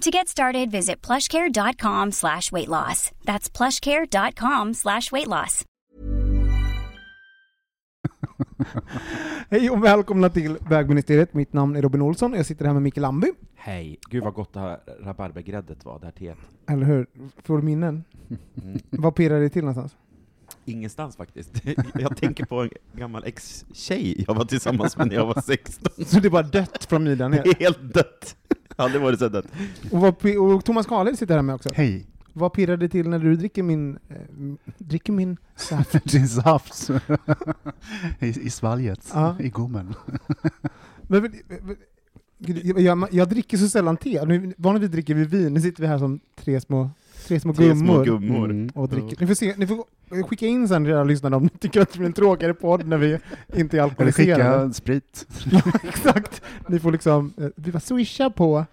To get started, visit plushcare.com slash weight loss. That's plushcare.com slash weight loss. Hej och välkomna till Vägministeriet. Mitt namn är Robin Olsson och jag sitter här med Micke Lamby. Hej. Gud vad gott det här rabarbergräddet var, det här teet. Eller hur? Får du minnen? Vad pirrar det till någonstans? Ingenstans faktiskt. Jag tänker på en gammal ex-tjej jag var tillsammans med när jag var 16. Så det är bara dött från midjan Det ner. är helt dött. Aldrig varit så dött. Och, vad, pi- och Thomas Kahle sitter här med också. Hej. Vad pirrar det till när du dricker min... Eh, m- dricker min saft? Din saft. I, I svalget. Ja. I gommen. Men, men, men, gud, jag, jag, jag dricker så sällan te. Nu, vanligtvis dricker vi vin, nu sitter vi här som tre små, tre små Tre gummor. Mm. små gummor. och dricker. Ni får, se, ni får skicka in sen till era lyssnare om ni tycker att det blir en tråkigare podd när vi inte är Eller alkoholiserade. skicka sprit. Exakt. Ni får liksom, eh, vi bara swisha på.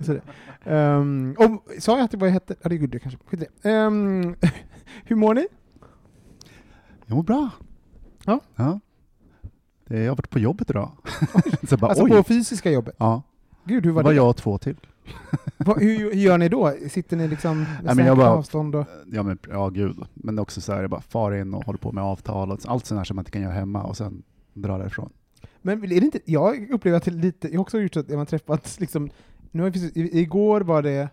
Så det. Ehm, om, sa jag att det var jag hette? Ja, det gjorde jag kanske. Skit i det. Ehm, hur mår ni? Jag mår bra. Ja. Det- Jag har varit på jobbet idag. Så bara, Alltså oj. på fysiska jobbet. Ja, Gud, hur det var var det? jag och två till. Vad- hur, hur gör ni då? Sitter ni liksom med men jag säkert bara- avstånd? Och, Ja, men, ja gud. Men också så här, jag bara far in och håller på med avtal och allt sånt här som man inte kan göra hemma och sen dra därifrån. men är det inte, jag upplever att det är lite, jag har också gjort så att man träffat liksom, nu har vi, precis- i- igår var det,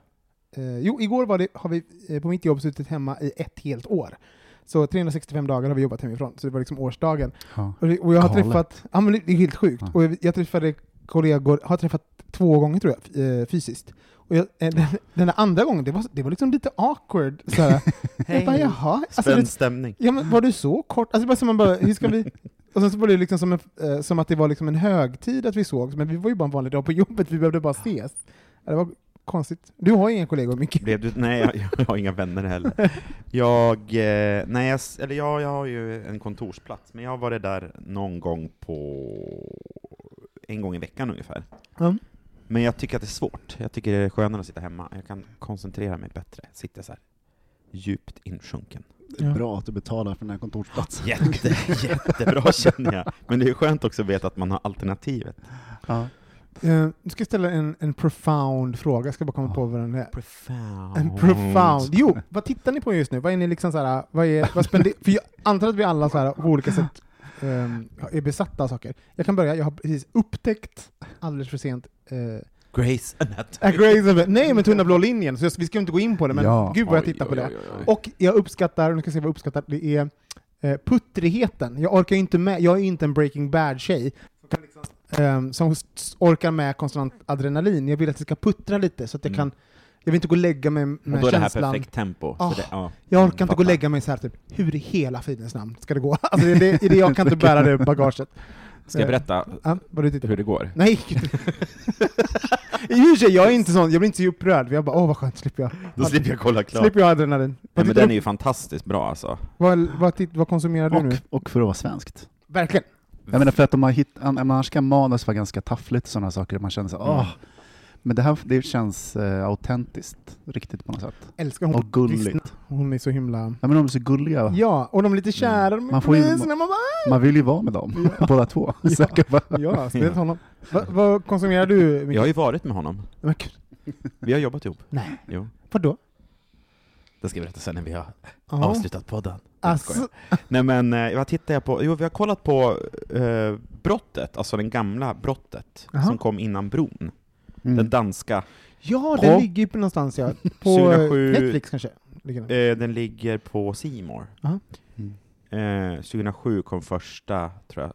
eh, jo, igår var det, har vi eh, på mitt jobb suttit hemma i ett helt år. Så 365 dagar har vi jobbat hemifrån, så det var liksom årsdagen. Ja. Och det- Och jag har Galet. träffat, ja men det det är helt sjukt, Ja. och jag- jag träffade kollegor, har träffat två gånger tror jag, f- eh, fysiskt. Och jag, eh, den, den där andra gången, det var, det var liksom lite awkward. Så här. jag bara jaha, alltså, Spänd det, stämning. ja, men var du så kort? Alltså, det var som man bara, hur ska vi... Och sen så var det liksom som, en, eh, som att det var liksom en högtid att vi sågs, men vi var ju bara en vanlig dag på jobbet, vi behövde bara ses. Ja, Det var konstigt. Du har ju inga kollegor, Micke. Blev du, nej, jag, jag har inga vänner heller. Jag, eh, nej, jag, s- eller jag, jag har ju en kontorsplats, men jag har varit där någon gång på en gång i veckan ungefär. Mm. Men jag tycker att det är svårt. Jag tycker det är skönare att sitta hemma. Jag kan koncentrera mig bättre. Sitta så här djupt insjunken. Det är bra att du betalar för den här kontorsplatsen. Jätte, jättebra känner jag. Men det är skönt också att veta att man har alternativet. Ja. Eh, Nu ska jag ställa en, en profound fråga, jag ska bara komma Ja. på vad den är. Profound. En profound. Jo, vad tittar ni på just nu? Vad är ni liksom såhär, vad är, vad spender, för jag antar att vi alla såhär, på olika sätt ehm, är besatta av saker. Jag kan börja, jag har precis upptäckt, alldeles för sent, eh, Grace Anatomy. A Grey's Anatomy. nej men Tunna blå linjen, så jag, vi ska inte gå in på det, men Ja. gud vad jag tittar på det. Och jag uppskattar, nu ska jag se vad jag uppskattar, det är eh, puttrigheten. Jag orkar ju inte med, jag är ju inte en Breaking Bad-tjej. som kan liksom, ehm, Som s- orkar med konstant adrenalin. Jag vill att det ska puttra lite så att jag Mm. kan jag vill inte gå och lägga mig Och med då är det här känslan. perfekt tempo. Ah. Så det, ja. Jag orkar inte gå Fattar. och lägga mig så här typ, hur i hela fridens namn ska det gå? Alltså det är det, det är det jag kan inte bära det bagaget. Eh, Ska jag berätta Ja, vad du tittar på? hur det går? Nej! gud. I och för sig, jag är inte sån, jag blir inte så upprörd, jag bara åh vad skönt, slipper jag. Då slipper jag kolla klart. Alltså, Slipper jag adrenalin. Nej, Vad, men tittar den du- är ju fantastiskt bra alltså. vad, vad, titt- vad konsumerar du nu? Och, och för att vara svenskt. Verkligen. Jag menar för att de har hitt, an- annars kan manus vara ganska taffligt och sådana saker. Man känner så här, Mm. "Åh." Men det här det känns eh, autentiskt, riktigt på något sätt. Älskar hon. Och gulligt. Kristna. Hon är så himla... Ja, men de är så gulliga. Ja, och de är lite kära. De Man får ju- är sina, man bara... Man vill ju vara med dem, båda två. Så jag kan bara- Ja, spelet honom. Va, vad konsumerar du? Micke? Jag har ju varit med honom. Men gud, Vi har jobbat ihop. Nej. Jo. Vadå? Det ska jag berätta sen när vi har Ja. avslutat podden. Jag skojar. Alltså, Nej men, eh, vad tittar jag på? Jo, vi har kollat på eh, Brottet, alltså den gamla Brottet, Jaha. som kom innan bron. Mm. Den danska. ja, den Ja. ligger ju på någonstans ja. På 2007. Netflix kanske? ligger den? Eh, den ligger på Simor. Aha. Mm. Eh, 2007 kom första, tror jag,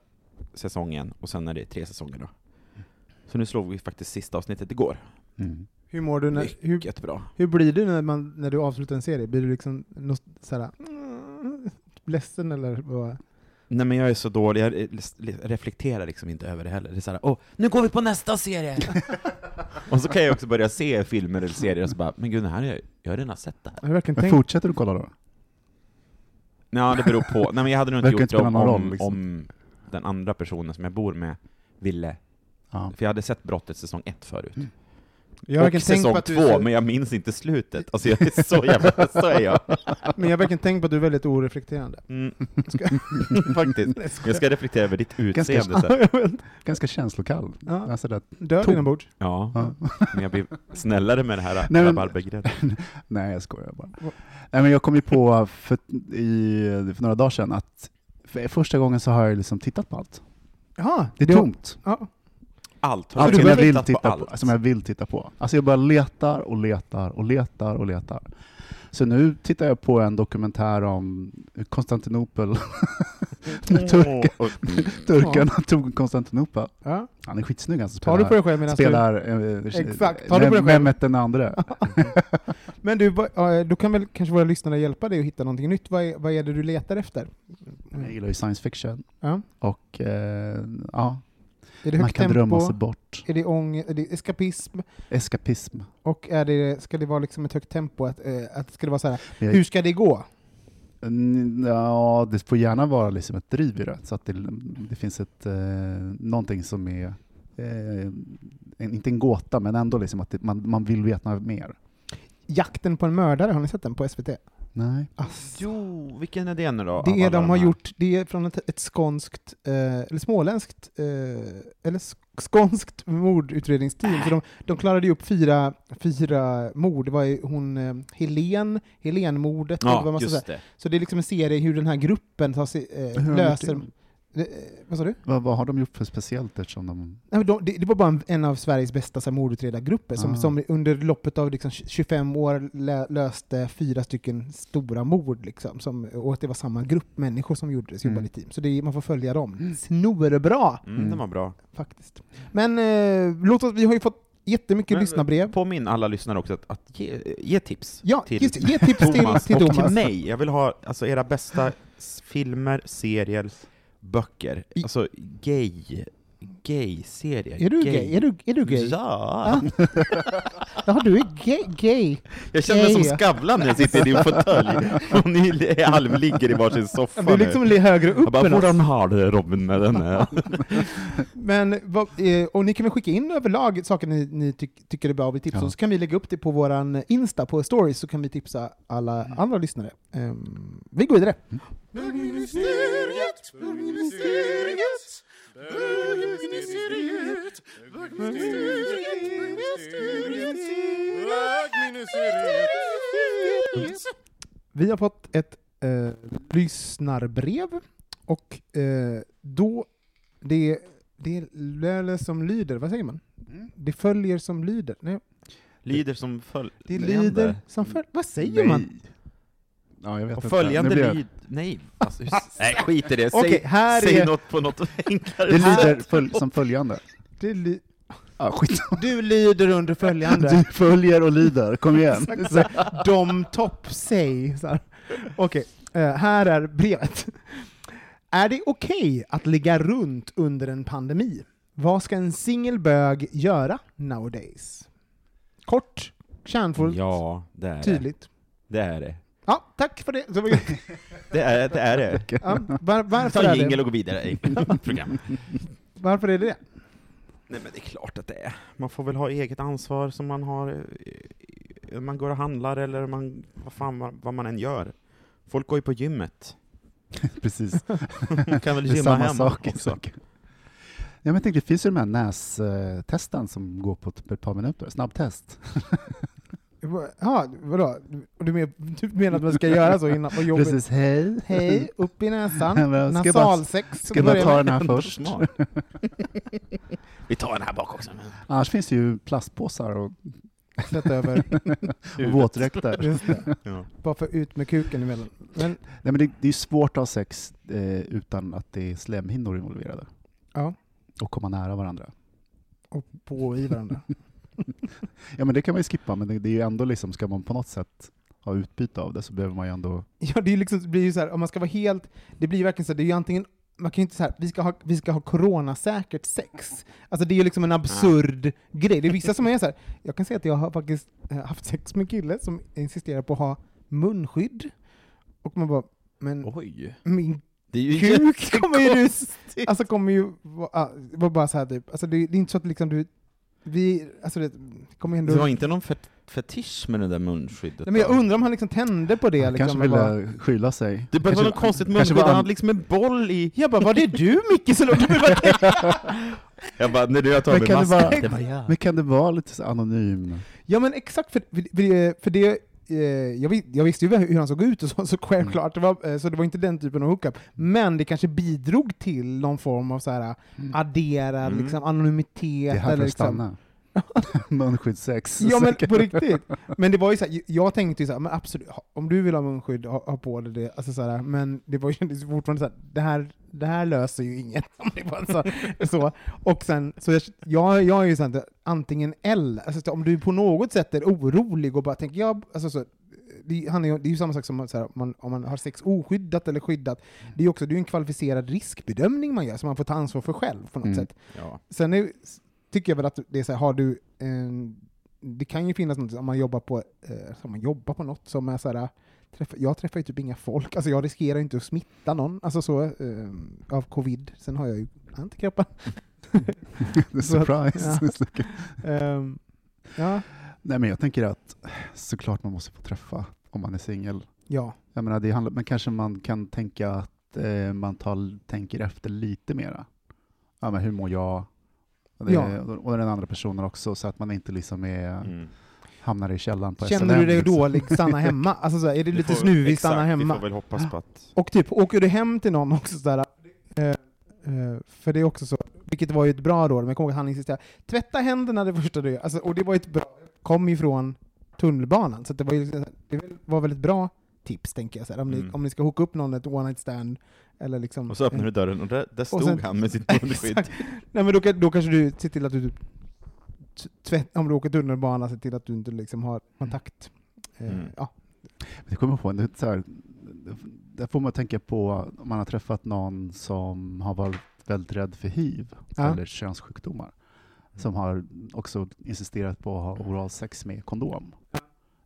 säsongen, och sen är det tre säsonger då. Så nu slog vi faktiskt sista avsnittet igår. Mm. Hur mår du? När, hur, Mycket bra. hur blir du när, man, när du avslutar en serie? Blir du liksom något såhär, mm, ledsen eller vad? Nej men jag är så dålig, jag eh, li- reflekterar liksom inte över det heller. Det är såhär, åh, nu går vi på nästa serie! och så kan jag också börja se filmer eller serier och så bara, men gud, det här är jag, jag har redan sett det här. Jag har verkligen Men tänkt. fortsätter du kolla då? Ja, det beror på. Nej men jag hade nog inte Verkar gjort inte det spela om, någon om, roll, liksom. om den andra personen som jag bor med ville. Ja. För jag hade sett brottet säsong ett förut. Jag har och verkligen tänkt säsong på att du, två, men jag minns inte slutet. Alltså jag är så jävla, så är jag. men jag har verkligen tänkt på att du är väldigt oreflekterande. Mm. Faktiskt. Jag ska reflektera över ditt Ganska- utseende sen. Ganska känslokall. Ja. Alltså det, Dör Tom. inombords. Ja, ja. men jag blir snällare med det här men- rabarbergrädden. Nej, jag skojar bara. Va- Nej, men jag kom ju på för, i, för några dagar sedan att för första gången så har jag liksom tittat på allt. Ja, Det är tomt. Ja. Allt. Har Allt du som jag, tittat vill titta på, allt? som jag vill titta på. Alltså jag bara letar och letar och letar och letar. Så nu tittar jag på en dokumentär om Konstantinopel. När tur, Åh, och- turkarna tog Konstantinopel. ja. Han är skitsnygg han som Tar du på dig spelar, själv medan du... spelar eh, Exakt, tar du på dig själv? Mehmet den andre. Men du, vad- ja, då kan väl kanske våra lyssnare hjälpa dig att hitta någonting nytt. Vad är, vad är det du letar efter? Jag gillar ju science fiction. Ja. Och eh, ja, Är det man högt kan drömma sig tempo? bort. Är det ångest? Är det eskapism? Eskapism. Och är det, ska det vara liksom ett högt tempo? Att, eh, att ska det vara så här, Jag- hur ska det gå? Mm, Ja, det får gärna vara liksom ett driv i det, så att det, det finns ett, eh, någonting som är, eh, en, inte en gåta, men ändå liksom att det, man, man vill veta mer. Jakten på en mördare, har ni sett den på SVT? Nej. Ass. Jo, vilken är det nu då? av Det är alla de har här? gjort, det är från ett, ett skånskt, eh, eller småländskt, eh, eller sk- skånskt mordutredningsteam. Så de, de klarade ju upp fyra, fyra mord. Det var ju hon eh, Helen, Helenmordet, eller vad Ja, man ska säga. just det. Så det är liksom en serie hur den här gruppen tar sig, Hur eh, har de löser... gjort Eh, vad sa du? Vad, vad har de gjort för speciellt eftersom de... Nej, men de, det, det var bara en, en av Sveriges bästa så här, mordutredargrupper som, Ah. som under loppet av liksom, 25 år lä, löste fyra stycken stora mord. Liksom, som, och att det var samma grupp människor som gjordes, Mm. jobbade i team. Så det, är- man får följa dem. Snorbra! Mm, Den var bra. Faktiskt. Men eh, låt oss, vi har ju fått jättemycket Men- eh, lyssnarbrev. Påminn alla lyssnare också att, att ge, ge tips. Ja, till just, det. ge tips till, Thomas till och Thomas. till mig. Jag vill ha alltså, era bästa s- filmer, serier, böcker. I- Alltså gay, gay-serier. Är du gay? Är du, är du gay? Ah, Ja! Ja, du är gay. gay. Jag känner mig som Gay. Skavlan när jag sitter i din fåtölj och ni li- halvligger i varsin soffa Du är liksom nu. li- högre upp Jag bara, än oss. Hvordan har du Robin med den här? Men, vad- eh, och ni kan väl skicka in överlag saker ni, ni tyck, tycker är bra och tips Ja. och så kan vi lägga upp det på våran Insta, på stories, så kan vi tipsa alla andra lyssnare. Ehm, vi går vidare. Vi har fått ett eh, lyssnarbrev och eh, då, det, det löler som lyder, vad säger man? Det följer som lyder. Nej, Lyder som föl... det lyder som följer. Vad säger Nej. man? Ja, jag vet Och inte. följande Nu blir jag- lyd... Nej, alltså, hur... Nej, skit i det. Säg, Okej, här säg är... något på något enklare Det sätt. lyder föl, som följande. Det ly- Ja, skit. du lyder under följande. Du följer och lyder, kom igen. Så här, de topp sig. så här. Okej, eh, här är brevet. Är det okej att ligga runt under en pandemi? Vad ska en singelbög göra nowadays? Kort, kärnfullt, Ja, det är det. tydligt. Det är det. Ja, tack för det. Så var- Det är det. Är det. ja, var, varför, Ta är jingel det och gå vidare i programmet. varför är det det? Nej men det är klart att det är. Man får väl ha eget ansvar som man har, eh, man går och handlar eller man, vad fan man- vad man än gör. Folk går ju på gymmet. Precis. Man kan väl Det är gymma samma hemma sak. också. Ja, men jag tänkte, det finns ju de här nästesten som går på typ ett par minuter, snabbtest. Ja, vadå? Du men- du menar att man ska göra så innan på jobbet? Precis, hej. Hej, upp i näsan, Men jag ska bara- nasalsex. Ska bara börjar ta med. den här Ändå först. smart. Vi tar den här bak också. Annars finns det ju plastpåsar och Sätta över, Och våtdräkter. just det. Ja. Bara för ut med kuken emellan. Men, Nej, men det, det är ju svårt att ha sex eh, utan att det är slemhinnor involverade ja, och komma nära varandra. och på och i varandra. Ja, men det kan man ju skippa, men det, det är ju ändå liksom, ska man på något sätt ha utbyte av det så behöver man ju ändå... Ja, det, är ju liksom, det blir ju så här, om man ska vara helt, det blir ju verkligen så här, det är ju antingen, man kan ju inte så här, vi ska ha, vi ska ha coronasäkert sex. Alltså det är ju liksom en absurd grej. Det är vissa som är så här, jag kan säga att jag har faktiskt eh, haft sex med en kille som insisterar på att ha munskydd. Och man bara, men Oj. min Det är ju kuk kommer ju du, jättekonstigt. alltså kommer ju, vara- ah, var bara så här typ, alltså det, det är inte så att liksom du, vi, alltså det kommer ju ändå... Det var inte någon fet- fetisch med det där munskyddet? Nej, men jag då? undrar om han liksom tände på det. Han liksom, kanske och bara- ville skyla sig. Det Kanske- var något konstigt kanske munskydd, var han han- hade liksom en boll i... Jag bara, var det du Micke som låg och Jag bara, när du har Men tagit kan av det mig vara- masken. Det var jag. Men kan det vara lite så anonym? Ja men exakt, för, för, för, för det, eh, jag, vis- jag visste ju hur han såg ut och så, Mm. så självklart, det var, eh, så det var inte den typen av hookup. Men det kanske bidrog till någon form av så här, adderad Mm. liksom, anonymitet. Det är här för eller att liksom, stanna. Munskyddssex. Ja men säkert. på riktigt. Men det var ju så här, j- jag tänkte ju så här, men absolut, ha- om du vill ha munskydd, ha, ha på dig det. Alltså så här, men det var ju kändes ju fortfarande så här, det här, det här löser ju inget. Om det var så, så. Och sen, så jag, jag, jag är ju såhär, antingen eller. Alltså, så om du på något sätt är orolig och bara tänker, jag, alltså så, det, han är, ju- det är ju samma sak som så här, om, man, om man har sex oskyddat eller skyddat. Mm. Det är ju också det är ju en kvalificerad riskbedömning man gör, som man får ta ansvar för själv på något Mm. sätt. Ja. Sen är, tycker jag väl att det är så här, har du en, det kan ju finnas något om man jobbar på, eh, om man jobbar på något som är så här, träffa, jag träffar ju typ inga folk, alltså jag riskerar ju inte att smitta någon alltså så, eh, av covid. Sen har jag ju antikroppar. Surprise. Eh, ja, Nej, men jag tänker att såklart man måste få träffa om man är singel. ja, Jag menar, det handlar, men kanske man kan tänka att eh, man tar, tänker efter lite mera. Ja, men hur mår jag? Och, det, Ja. och den andra personen också, så att man inte liksom är, Mm. hamnar i källaren på känner du dig liksom. dålig, stanna hemma. Alltså så här, är det Vi lite får- snuvig, exakt, stanna hemma. Vi får väl hoppas på att... Och typ, åker du hem till någon också sådär, eh, eh, för det är också så, vilket var ju ett bra råd, men jag kommer ihåg att han insisterade, tvätta händerna det första du gör. Alltså, och det var ju ett bra, kom ju från tunnelbanan, så att det, var ju, liksom, det var väl ett bra tips tänker jag, såhär, om, ni, Mm. om ni ska hooka upp någon ett one night stand, eller liksom... Och så öppnar du dörren och där, där stod sen- han med sitt munskydd. Exakt. Nej men då, kan- då kanske du ser till att du, typ t- tvätt, om du åker tunnelbana, se till att du inte liksom har kontakt. Eh, Mm. ja. Det kommer jag på, det är så här, där får man tänka på om man har träffat någon som har varit väldigt rädd för hiv Ja. eller könssjukdomar, som har också insisterat på att ha oral sex med kondom,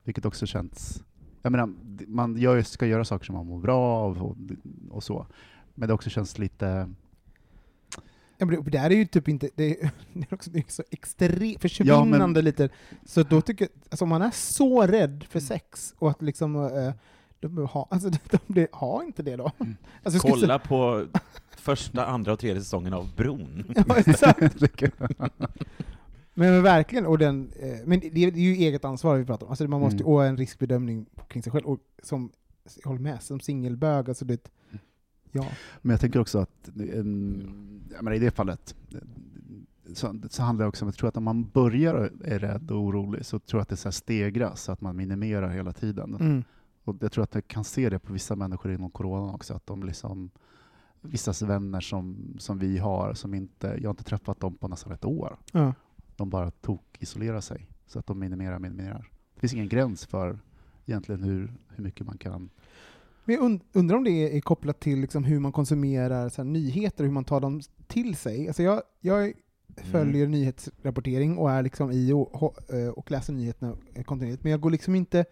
vilket också känns... Jag menar, det- man gör, ju- ska göra saker som man mår bra av och, och så, men det också känns lite... Ja, men det, det här är ju typ inte, det är, det är också det är så extremt Ja, försvinnande men- lite. Så då tycker jag, alltså om man är så rädd Mm. för sex och att liksom, eh, de ha, alltså de, de, ha inte det då. Mm. Alltså, jag skulle säga- Kolla på första, andra och tredje säsongen av Bron. Ja, exakt. Men, men verkligen, och den, eh, men det, det är ju eget ansvar vi pratar om. Alltså man måste ju Mm. och en riskbedömning kring sig själv. Och som, jag håller med, som singelbög, alltså det, Mm. ja. Men jag tänker också att em, jag menar, i det fallet eh, så, så handlar det också om jag tror att om man börjar och är rädd och orolig så tror jag att det så här stegras, så att man minimerar hela tiden. Mm. Och jag tror att jag kan se det på vissa människor inom corona också, att de liksom vissa vänner som, som vi har, som inte, jag har inte träffat dem på nästan ett år, Ja. de bara tokisolerar sig, så att de minimerar, minimerar. Det finns ingen gräns för egentligen hur, hur mycket man kan... Men jag und- undrar om det är kopplat till liksom hur man konsumerar så här, nyheter och hur man tar dem till sig. Alltså jag, jag följer nyhetsrapportering och är liksom i och, ho- eh, och läser nyheterna eh, kontinuerligt, men jag går liksom inte...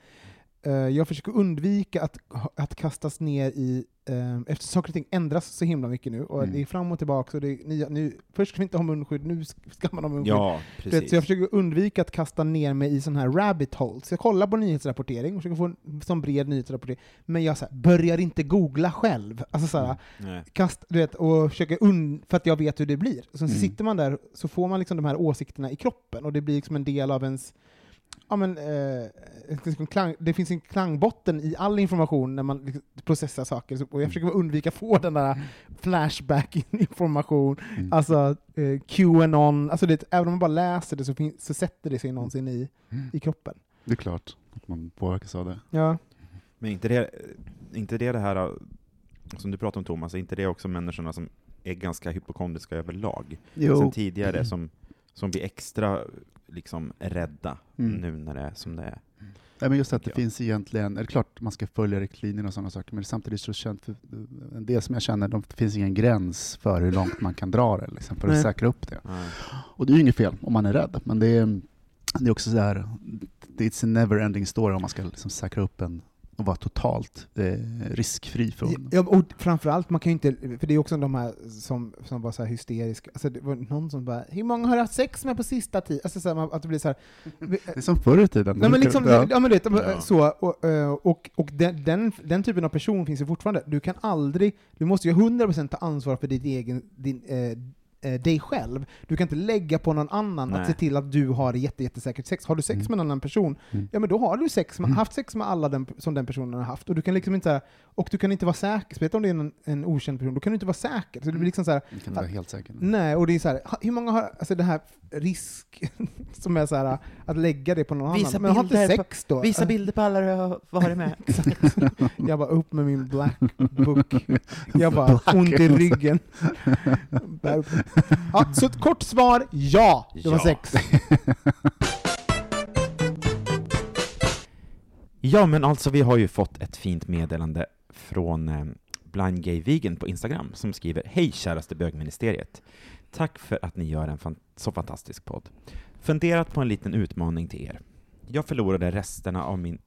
eh, Jag försöker undvika att, att kastas ner i... eh, Eftersom saker och ting ändras så himla mycket nu, och Mm. det är fram och tillbaka, och det är nya, nu, först ska vi inte ha munskydd, nu sk- ska man ha munskydd. Ja, Du Vet, så jag precis. försöker undvika att kasta ner mig i sån här rabbit holes. Jag kollar på nyhetsrapportering och försöker få en sån bred nyhetsrapportering, men jag så här, börjar inte googla själv. Alltså så här, Nej. kast, du vet, och försöker und- för att jag vet hur det blir. Och sen Mm. sitter man där så får man liksom de här åsikterna i kroppen och det blir liksom en del av ens ja, men, eh, det finns en klang, det finns en klangbotten i all information när man liksom processar saker, så- Mm. och jag försöker bara undvika få den där flashback-information, Mm. alltså eh, Qanon, alltså det, även om man bara läser det så, fin- så sätter det sig någonsin i, Mm. i kroppen. Det är klart att man påverkas av det. Ja. Men inte det, inte det det här eh, som du pratade om Thomas, är inte det också människorna som är ganska hypokondriska överlag? Sen tidigare som, som blir extra liksom rädda Mm. nu när det är som det är. Nej, men just att det Ja. finns egentligen, är det klart man ska följa riktlinjer och sådana saker, men samtidigt så känns för en del som jag känner, de, det finns ingen gräns för hur långt man kan dra det liksom, för att Nej. säkra upp det. Nej. Och det är ju inget fel om man är rädd, men det är, det är också så här, det är en never ending story om man ska liksom säkra upp en och vara totalt eh, riskfri från... Ja, och framförallt, man kan ju inte, för det är också de här som, som var så här hysteriska, alltså det var någon som bara ”Hur många har du haft sex med på sista tiden?” Alltså så här, man- att det blir så här, Det är som förr i tiden. Nej, men liksom, Ja. ja. men du vet, Ja. så, och, eh, och, och den, den, den typen av person finns ju fortfarande. Du kan aldrig, du måste ju 100% ta ansvar för ditt egen, din, eh, eh, dig själv. Du kan inte lägga på någon annan Nej. att se till att du har jätte, jättesäkert sex. Har du sex Mm. med en annan person, Mm. ja men då har du sex med, Mm. haft sex med alla den, som den personen har haft. Och du kan liksom inte, så här, och du kan inte vara säker, speciellt om det är en, en okänd person, då kan du inte vara säker. Så det blir liksom så här, Jag kan inte vara helt säker. nej, och det är så här, ha- hur många har, alltså det här risk, som är så här, att lägga det på någon Visa annan. Men har inte bilder på- sex då? Visa bilder på alla du har varit med. Jag bara upp med min black book. Jag bara ont i ryggen. Bara upp. Ja, så ett kort svar, ja! Det var Ja. sex. Ja, men alltså vi har ju fått ett fint meddelande från eh, Blind Gay Vegan på Instagram som skriver Hej käraste bögministeriet! Tack för att ni gör en fan- så fantastisk podd. Funderat på en liten utmaning till er. Jag förlorade resterna av min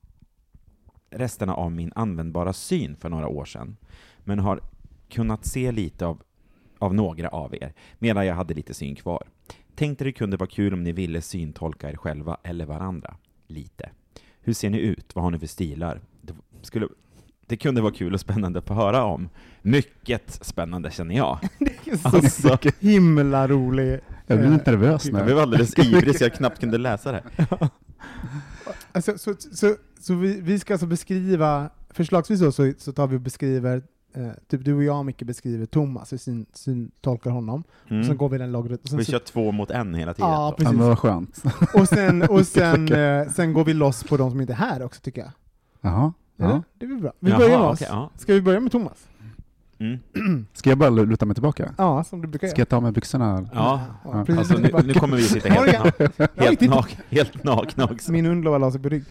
resterna av min användbara syn för några år sedan, men har kunnat se lite av, av några av er, medan jag hade lite syn kvar. Tänkte det kunde vara kul om ni ville syntolka er själva eller varandra, lite. Hur ser ni ut? Vad har ni för stilar? Det, skulle, det kunde vara kul och spännande att få höra om. Mycket spännande känner jag. Det är så Alltså, himla rolig. Jag blir lite nervös jag nu. blev alldeles ivrig så jag knappt kunde läsa det. Alltså, så så, så vi, vi ska alltså beskriva, förslagsvis då, så, så tar vi och beskriver, eh, typ du och jag Micke beskriver Thomas, vi syn, syn, tolkar honom, och sen Mm. går vi den lagret. Och sen, Vi så- kör två mot en hela tiden. Ja, då. Ja, precis. men vad skönt. och, sen, och sen, eh, sen går vi loss på de som inte är här också tycker jag. Jaha. Eller? Ja. Det blir bra. Vi Jaha, börjar med oss. okej, ja. Ska vi börja med Thomas? Mm. Ska jag bara luta mig tillbaka? Ja, som du brukar göra. Ska jag ta med byxorna? ja. Ja, precis. Alltså, nu, nu kommer vi sitta Har helt, du- na- har du helt, tittat- nak- helt nakna också. Min hund la sig på rygg.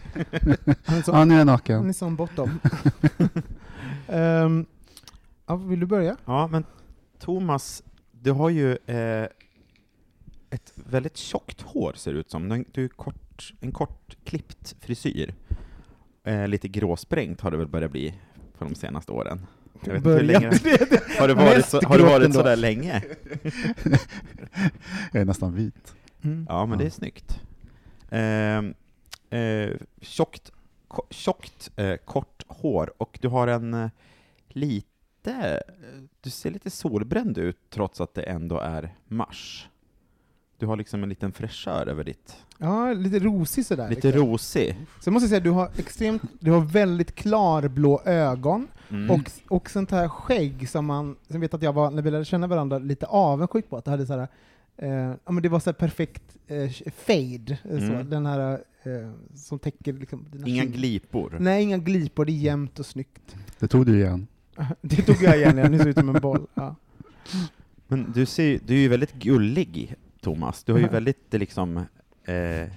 Han är så, Ja, nu är jag han är naken. sån bottom. Ehm, ja, vill du börja? Ja, men Thomas, du har ju eh, ett väldigt tjockt hår ser det ut som. Du- Du är kort, en kort klippt frisyr. Eh, lite gråsprängt har det väl börjat bli på de senaste åren. Jag vet inte hur länge. Har du varit, så, Mest har du grått varit ändå. sådär länge? Jag är nästan vit. Mm. Ja, men det är Ja. snyggt. Ehm, eh, tjockt, ko- tjockt eh, kort hår och du har en eh, lite, eh, du ser lite solbränd ut trots att det ändå är mars. Du har liksom en liten fräschör över ditt, Ja, lite rosig sådär. lite rosig. Sen måste jag säga, du har extremt, du har väldigt klarblå ögon Mm. och, och sånt här skägg som man, som vet att jag var, när vi lärde känna varandra, lite avundsjuk på. Att det hade såhär, eh, ja men det var såhär perfekt eh, fade, eh, så, Mm. den här eh, som täcker liksom dina Inga kin- glipor. Nej, inga glipor, det är jämnt och snyggt. Det tog du igen. Det tog jag igen, jag ser ut som en boll. Ja. Men du, ser, ju- du är ju väldigt gullig, Thomas. Du har ju Mm. väldigt eh, liksom eh,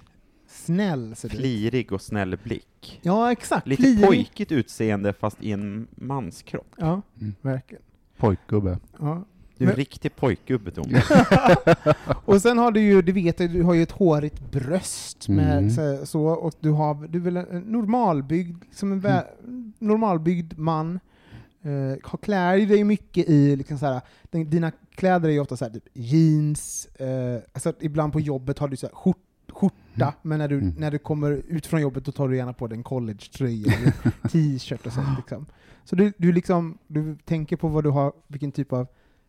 Snäll ser du ut. flirig och snäll blick. Ja, exakt. Lite Flirig. pojkigt utseende fast i en manskropp. Ja, Mm. verkligen. Pojkgubbe. Ja. Du är en Men- riktig pojkgubbe, Thomas. Och sen har du ju, du vet ju, du har ju ett hårigt bröst med Mm. så, så, och du har, du är väl en normalbyggd, som en vä- normalbyggd man. Eh, har- klär ju dig mycket i, liksom så här, den, dina kläder är ju ofta så här, typ jeans, eh, alltså att ibland på jobbet har du så här, skjort, skjorta, men när du, Mm. när du kommer ut från jobbet då tar du gärna på dig en collegetröja eller t-shirt och sånt. Liksom. Så du, du, liksom, du tänker på vad du har, vilken typ av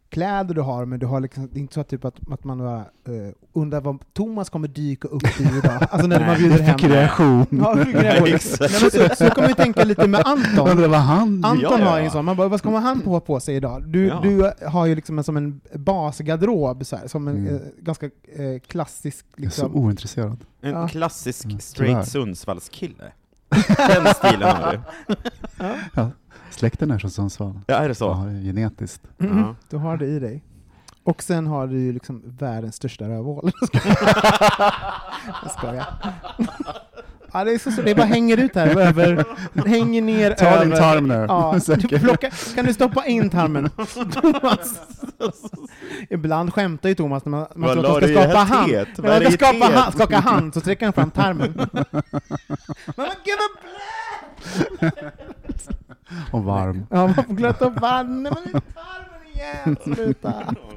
kläder du har, men du har liksom, det är inte så att, typ att, att man bara, eh, undrar vad Thomas kommer dyka upp i idag. Alltså när man bjuder hem. Fick reaktion. Ja, fick reaktion. Nej, men så, så kan man ju tänka lite med Anton. Undrar vad han... Anton Ja, ja, har ju ja. en sån, man bara, vad ska man han på, på sig idag? Du, Ja. du har ju liksom en, som en basgarderob, så här, som en Mm. eh, ganska eh, klassisk... Jag är så Liksom. ointresserad. En Ja. klassisk Mm, tyvärr. straight Sundsvallskille. Den stilen har du. Släkten är från Sundsvall. Ja, är det så? Ja, det är genetiskt. Mm, Ja. Du har det i dig. Och sen har du ju liksom världens största rövhål. Jag skojar. Ja, det, är så, så, det bara hänger ut här, över, hänger ner Ta din över. tarm nu. Ja, du Säkert. plocka, kan du stoppa in tarmen? Thomas. Ibland skämtar ju Thomas när man, man Vad tror att man la ska du i det skapa här hand. teet? När Vad är man det ska i skapa teet? hand, skaka hand så sträcker han fram tarmen. Mamma, gud vad blöt! Och varm. Ja, man får glötta upp vatten. Nej, men det är tarmen igen! Sluta! Ja.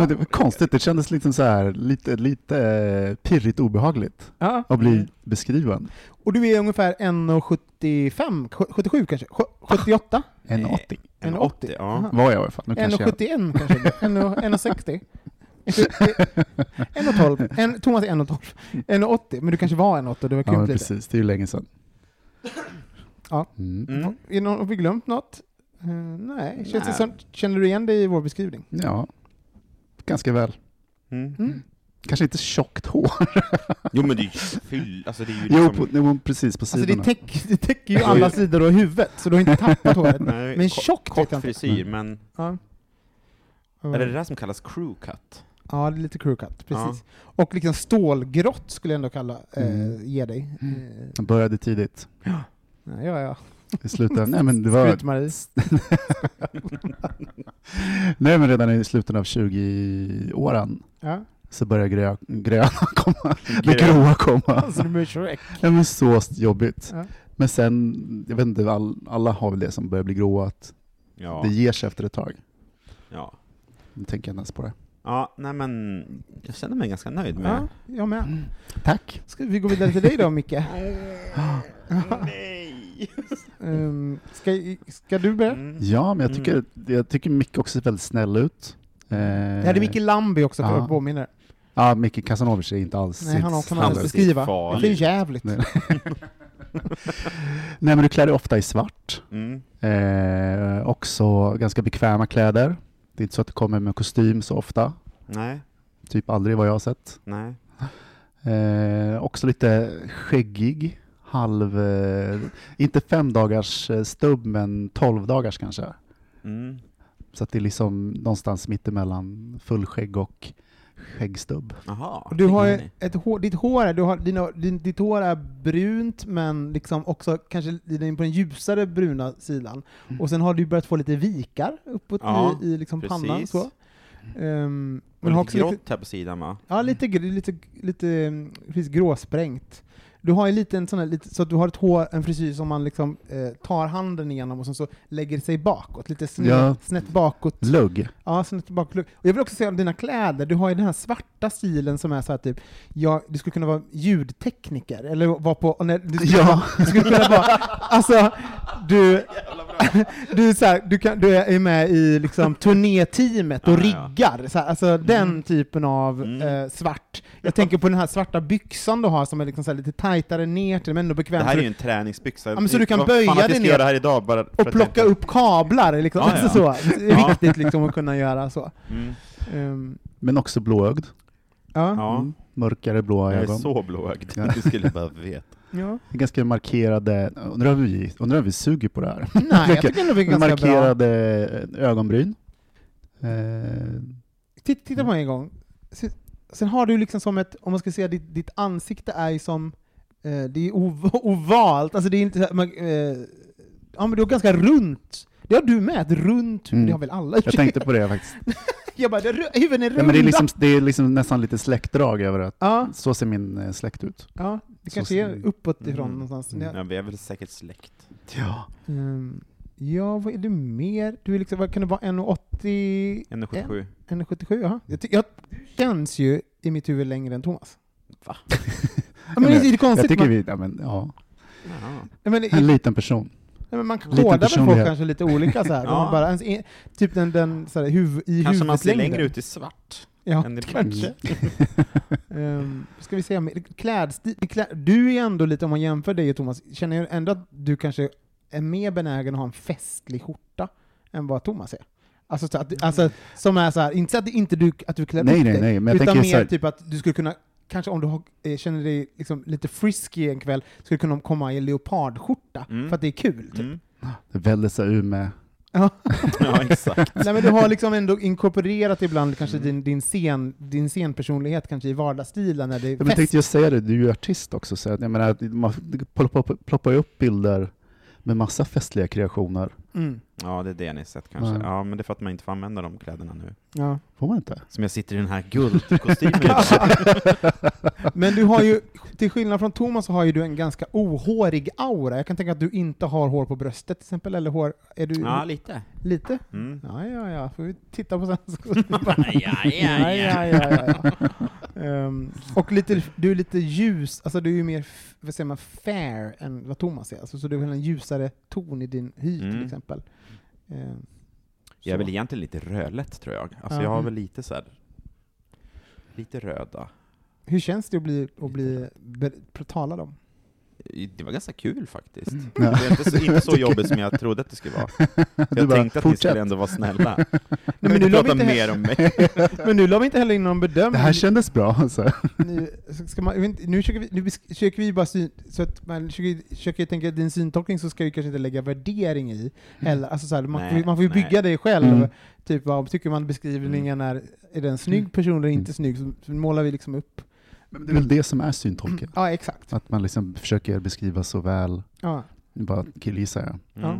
Ja, Det var konstigt, det kändes liksom så här, lite, lite eh, pirrigt obehagligt ja. att bli beskriven. Och du är ungefär 1,75, 77 kanske? Sj- 78? En 80 En 80, ja. var jag i alla fall. Nu kanske jag... 1,71 kanske? 1,60? 1,12. En- Thomas är 1,12. 1,80. Men du kanske var 1,80, det var Ja, men krympt lite. precis. Det är ju länge sedan. Ja. Mm. Mm. Är det någon, har vi glömt något? Eh, nej. Känns det Nej. som, känner du igen dig i vår beskrivning? ja, ganska väl. Mm. Mm. Kanske inte tjockt hår. Jo men det är ju fyll, alltså det är ju Jo, liksom... på, jo, precis på Alltså det, sidorna. täck, det täcker ju alla sidor av huvudet, så du har inte tappat håret. nej, Men ko- tjockt vet jag Kort inte. Mm. frisyr, men Ja. är det det där som kallas crew cut? Ja, det är lite crew cut, precis. Och liksom stålgrått skulle jag ändå kalla, eh, Mm. ge dig. Eh, Jag började tidigt. nej, ja, ja. I slutet, nej, men det var, Skryt-Marie. nej, men redan i slutet av 20-åren Ja. så började grö, gröna komma. Det gråa komma. Alltså, du blir Shrek. Ja, men så st- jobbigt. Ja. Men sen, jag vet inte, all, alla har väl det som börjar bli gråa, att Ja, det ger sig efter ett tag. ja. Nu tänker jag inte ens på det. Ja, nej men jag känner mig ganska nöjd Ja, med... jag med. Tack. Ska vi gå vidare till dig då, Micke? Nej! Um, ska, ska du Eh, börja? Mm. Ja, men jag tycker, jag tycker Micke också ser väldigt snäll ut. Eh, Det hade Micke Lambi också, för Ja. att påminna dig. Ja, Micke Kasanovic är inte alls Nej, han har också sitt något han att är snäll. precis beskriva. farlig. Det är jävligt. Nej. Nej, men du klär dig ofta i svart. Mm. Eh, också ganska bekväma kläder. Det är inte så att du kommer med kostym så ofta. Nej, Typ aldrig vad jag har sett. nej. Eh, också lite skäggig. Halv... Eh, inte fem dagars eh, stubb, men tolv dagars kanske. Mm. Så att det är liksom någonstans mittemellan fullskägg och skäggstubb. Jaha. Och Du har ju Ingen aning. ett hår, ditt hår är, du har, dina, din, ditt hår är brunt, men liksom också kanske lite in på den ljusare bruna sidan. Och sen har du börjat få lite vikar uppåt Mm. Ja, i, i liksom pannan. precis. Så. Ehm, men har Och lite också grått lite, här på sidan va? ja, lite, gr- lite, lite mm, precis gråsprängt. Du har ju lite en sån här, lite, så att du har ett hår, en frisyr som man liksom eh, tar handen igenom och sen så lägger sig bakåt, lite snett, Ja. snett bakåt. Lugg. Ja, sen ett bakluck. Och jag vill också säga om dina kläder, du har ju den här svarta stilen som är så här typ, ja, du skulle kunna vara ljudtekniker, eller vara på, och när, du, skulle Ja. vara, du skulle kunna vara, alltså, du, du, är så här, du, kan, du är med i liksom turnéteamet och Ja, ja. riggar, så här, alltså den typen av Mm. eh, svart. Jag tänker på den här svarta byxan du har som är liksom så här lite tajtare ner till, men ändå Det bekvämt. så här är du- ju en träningsbyxa. men så du kan Vad böja fan att jag dig ska ner göra det här idag bara för och att plocka jag inte- upp kablar, liksom. Ja, ja. Alltså så. Det är Ja. viktigt liksom, att kunna göra så. Mm. Ehm, Men också blåögd. ja. Ja, Mm. Mörkare blåa jag är ögon. så blåögd. Ja. Du skulle bara veta. Ja. Ganska markerade, undrar om vi, undrar om vi suger på det här. Nej, jag tycker ändå det är ganska bra. markerade ögonbryn. Eh, Titta, titta på mig en gång. Se- Sen har du liksom som ett, om man ska säga ditt, ditt ansikte är ju som, eh, det är ov ovalt, alltså det är inte så här- man, eh, ja men du har ganska runt, det har du med, ett runt huvud, Mm. det har väl alla i och för jag sig. tänkte på det faktiskt. Jag bara, det, är ru- huvuden är runda! Ja, men det, är liksom, det är liksom nästan lite släktdrag över det. ja, Så ser min eh, släkt ut. ja, det Så kanske ser är det. uppåt ifrån Mm. någonstans. Mm. Ja. Ja, vi är väl säkert släkt. Ja. Ehm, ja, vad är det mer? Du är liksom, vad kan det vara, 1,80, 1,77. 1,77? Jaha. Jag, ty- jag känns ju i mitt huvud längre än Thomas. Va? Ja, men det är lite Jag konstigt. tycker man- vi, ja, men, ja, Jaha. Ja, men, en liten person. Nej, men man Liten kodar väl folk personlighet. kanske lite olika så här. Ja. Och man bara, ens e- typ den, den så här, huv, i Kanske man ser huvudlängden. längre ut i svart. Ja, än i blått. kanske. Ehm, ska vi se, med klädstil, klä- du är ändå lite, om man jämför dig och Thomas, känner jag ändå att du kanske är mer benägen att ha en festlig skjorta än vad Thomas är? Alltså, så att, alltså som är så här, inte så att inte du, att du klär Nej, upp nej, dig, nej, men jag utan tänker mer så här- typ att du skulle kunna, kanske om du har, eh, känner dig liksom lite frisky en kväll, skulle kunna komma i leopardskjorta, Mm. för att det är kul. Typ. Mm. Det väller sig ur med... Ja. Ja, exakt. Nej, men du har liksom ändå inkorporerat ibland kanske din, din, scen, din scenpersonlighet kanske i vardagsstilen när det är Ja, men Jag fest. tänkte just säga det, du är ju artist också, så att, jag menar, att man ploppar, ploppar ju upp bilder med massa festliga kreationer. Mm. Ja, det är det ni sett kanske. Ja. Ja, men det är för att man inte får använda de kläderna nu. Ja. Får man inte? Som jag sitter i den här guldkostymen. Ja. Men du har ju, till skillnad från Thomas, så har ju du en ganska ohårig aura. Jag kan tänka att du inte har hår på bröstet till exempel, eller hår... Är du ja, lite. lite? Mm. Ja, ja, ja. Får vi titta på sen. Ja, ja, ja. ja, ja. Ehm, och lite, du är lite ljus, alltså du är ju mer, f- vad säger man, fair än vad Thomas är. Alltså, så du har en ljusare ton i din hy till Mm. exempel. Ehm, Jag så. Mm. är väl egentligen lite rödlätt, tror jag. Alltså, Ja. jag har väl lite så här... Lite röda. Hur känns det att bli, att bli be- talad om? Det var ganska kul faktiskt. Mm. Det var inte så, inte så jobbigt som jag trodde att det skulle vara. Du Jag bara, tänkte att ni "Fortsätt." skulle ändå vara snälla. Nej, men men nu du la vi prata inte mer om mig. Men nu la vi inte heller in någon bedömning. Det här kändes bra. Så. nu, ska man, jag vet inte, nu, försöker vi, nu besk- försöker vi bara syn, så att man försöker, försöker tänka att din syntolkning så ska vi kanske inte lägga värdering i heller. Alltså så här, man, Mm. Nej, får ju- man får ju nej. Mm. bygga det själv. Mm. Typ vad tycker man beskrivningen är, är den snygg person eller inte snygg? Så, så målar vi liksom upp. Men det är väl det som är syntolken, Ja, exakt. att man liksom försöker beskriva så väl, Ja. nu bara killgissar jag. Ja.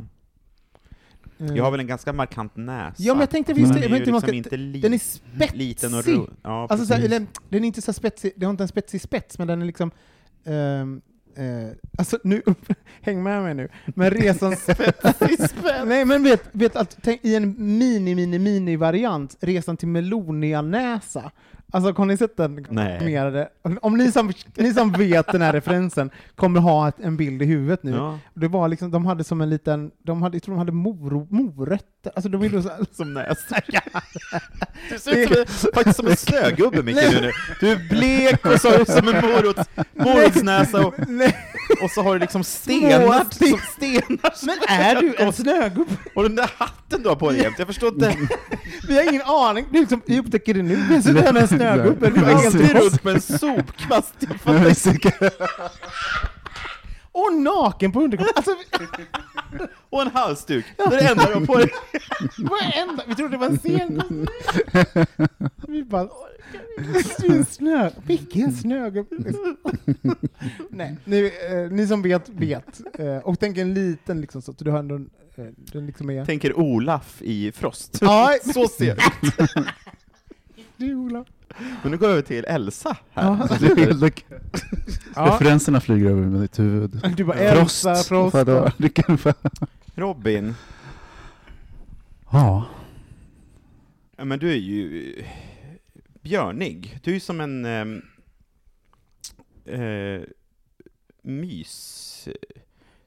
Mm. Jag har väl en ganska markant näsa. Ja, men jag tänkte Den visst- är jag ju vet inte om man liksom ska- inte li- Den är spetsig! liten och rund. Ja, Alltså så här, precis. eller, den är inte så spetsig, den har inte en spetsig spets, men den är liksom... ehm, eh, alltså nu, häng med mig nu, men resans spetsig spets! Nej men vet, vet att tänk, i en mini, mini, mini variant, resan till Melonianäsa. Alltså har ni sett den? Nej. animerade? Om ni som, ni som vet den här referensen kommer ha ett, en bild i huvudet nu. Ja. Det var liksom, de hade som en liten, de hade, jag tror de hade moro, morötter, alltså de ville så här, Som näsdukar. Du ser ut som en, faktiskt som en snögubbe Micke nu, nu. Du är blek och så har du som en morots, morotsnäsa och, Nej, och så har du liksom stenar, sten- som stenar som- men är du en snögubbe? Och den där hatten du har på dig jämt, jag förstår inte. Vi har ingen aning. Du liksom, vi upptäcker det nu. Vi sitter här med en snögubbe. Vi Du var går helt alltid i runt med en sopkvast. Jag Men fattar jag är inte. säker- Och naken på underkroppen. Alltså, Och en halsduk. Det är det enda du har på dig. varenda. Vi trodde det var en scen. Vi bara, orkar vi? Du är en snö. Vilken snögubbe. Nej, ni, eh, ni som vet, vet. Eh, och tänk en liten liksom så. att Du har ändå en, eh, den liksom är... Tänker Olaf i Frost. Ja, Så ser jag ut. du Ola. Men nu går vi över till Elsa här. Ja. Alltså, Det är helt okej. Ja. Referenserna flyger över mitt huvud. Du bara, Frost. Elsa, Frost. vadå? Det kan vara- Robin, Ja, ja, men du är ju eh, björnig. Du är ju som en ehm, eh, mys...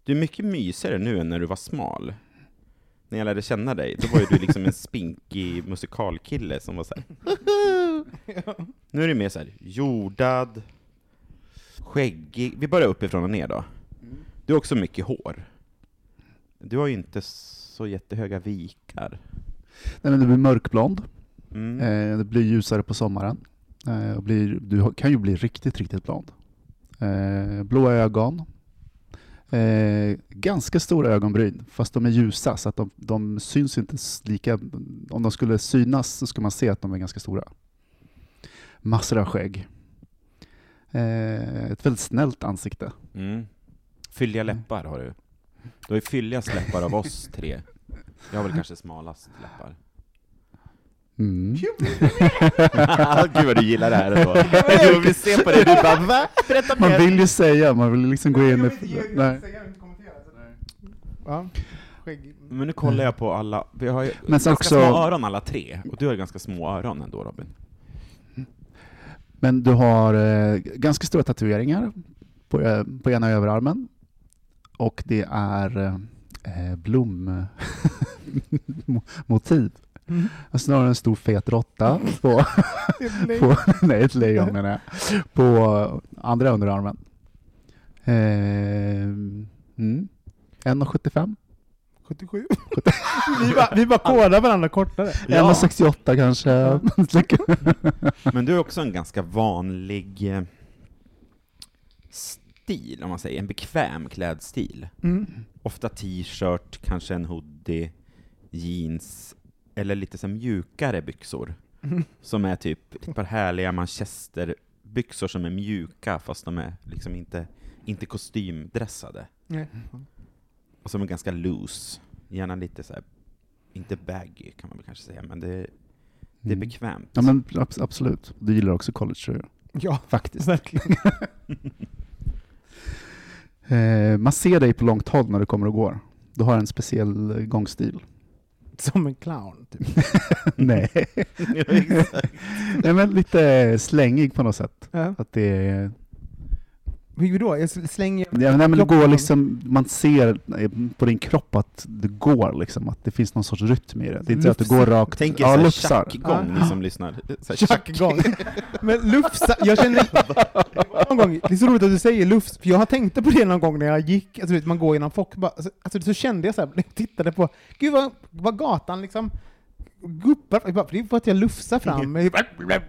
Du är mycket mysigare nu än när du var smal. När jag lärde känna dig, då var ju du liksom en spinkig musikalkille som var så här. Nu är du mer så här jordad, skäggig. Vi börjar uppifrån och ner då. Du har också mycket hår. Du har ju inte så jättehöga vikar. Nej, men du blir mörkblond. Mm. Eh, det blir ljusare på sommaren. Eh, och blir, du har- kan ju bli riktigt, riktigt blond. Eh, blåa ögon. Eh, ganska stora ögonbryn, fast de är ljusa så att de, de syns inte s- lika... Om de skulle synas så ska man se att de är ganska stora. Massor av skägg. Eh, ett väldigt snällt ansikte. Mm. Fylliga Mm. läppar har du. Du har ju fylligast läppar av oss tre. Jag har väl kanske smalast läppar. Mm. Gud vad du gillar det här ändå. Du vill se på dig, du bara va? Berätta Man mer. vill ju säga, man vill liksom gå in i... Nej. Ja. Skägg. Men nu kollar jag på alla, vi har ju Mm. Men sen ganska också- små öron alla tre, och du har ganska små öron ändå Robin. Men du har eh, ganska stora tatueringar på, eh, på ena överarmen och det är eh, eh, blommotiv. Mm. Alltså, Snarare en stor fet råtta på, på, nej, ett lejon menar jag, på andra underarmen. Eh, mm. 1,75? 77. vi, bara, vi bara kodar varandra kortare. Ja. 1,68 kanske? Men du är också en ganska vanlig eh, stil, om man säger. En bekväm klädstil. Mm. Ofta t-shirt, kanske en hoodie, jeans, eller lite så här mjukare byxor. Mm. Som är typ ett par härliga manchesterbyxor som är mjuka, fast de är liksom inte, inte kostymdressade. Nej. Och som är ganska loose. Gärna lite så här, inte baggy kan man väl kanske säga, men det, det är Mm. bekvämt. Ja men abs- absolut, du gillar också eh, collegetröjor. Ja, Faktiskt. verkligen. Eh, man ser dig på långt håll när du kommer och går. Du har en speciell eh, gångstil. Som en clown. Typ. Nej. Ja, exakt. Nej, men lite slängig på något sätt. Ja. Att det är, Hur då? Jag slänger... ja, nej, men det Klockan. går liksom, man ser eh, på din kropp att det går, liksom, att det finns någon sorts rytm i det. Det är inte att du Lufsar. går rakt... Tänk er ja, ja, lufsar. tjackgång, ni som lyssnar. Så här Tjackgång. Men lufsa, jag känner någon gång, det är så roligt att du säger lufs, för jag har tänkt på det någon gång när jag gick, alltså, du vet, man går genom folk, bara, alltså, alltså, så kände jag så här, när jag tittade på, gud vad, vad gatan liksom guppar, jag bara, för det är för att jag lufsar fram, Mm. jag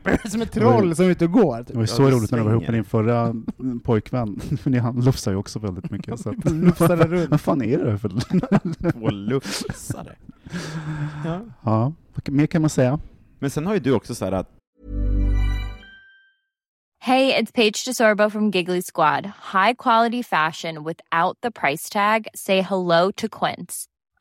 bara, som ett troll som är ute och går. Det Typ. var ju Ja, så det roligt när du var ihop med svänger. din förra mm, pojkvän, för ni- han lufsar ju också väldigt mycket. Så att, Lufsade runt. vad fan är det för... Två lufsare. Ja. Ja, vad mer kan man säga? Men sen har ju du också så här att Hey, it's Paige DeSorbo from Giggly Squad. High quality fashion without the price tag. Say hello to Quince.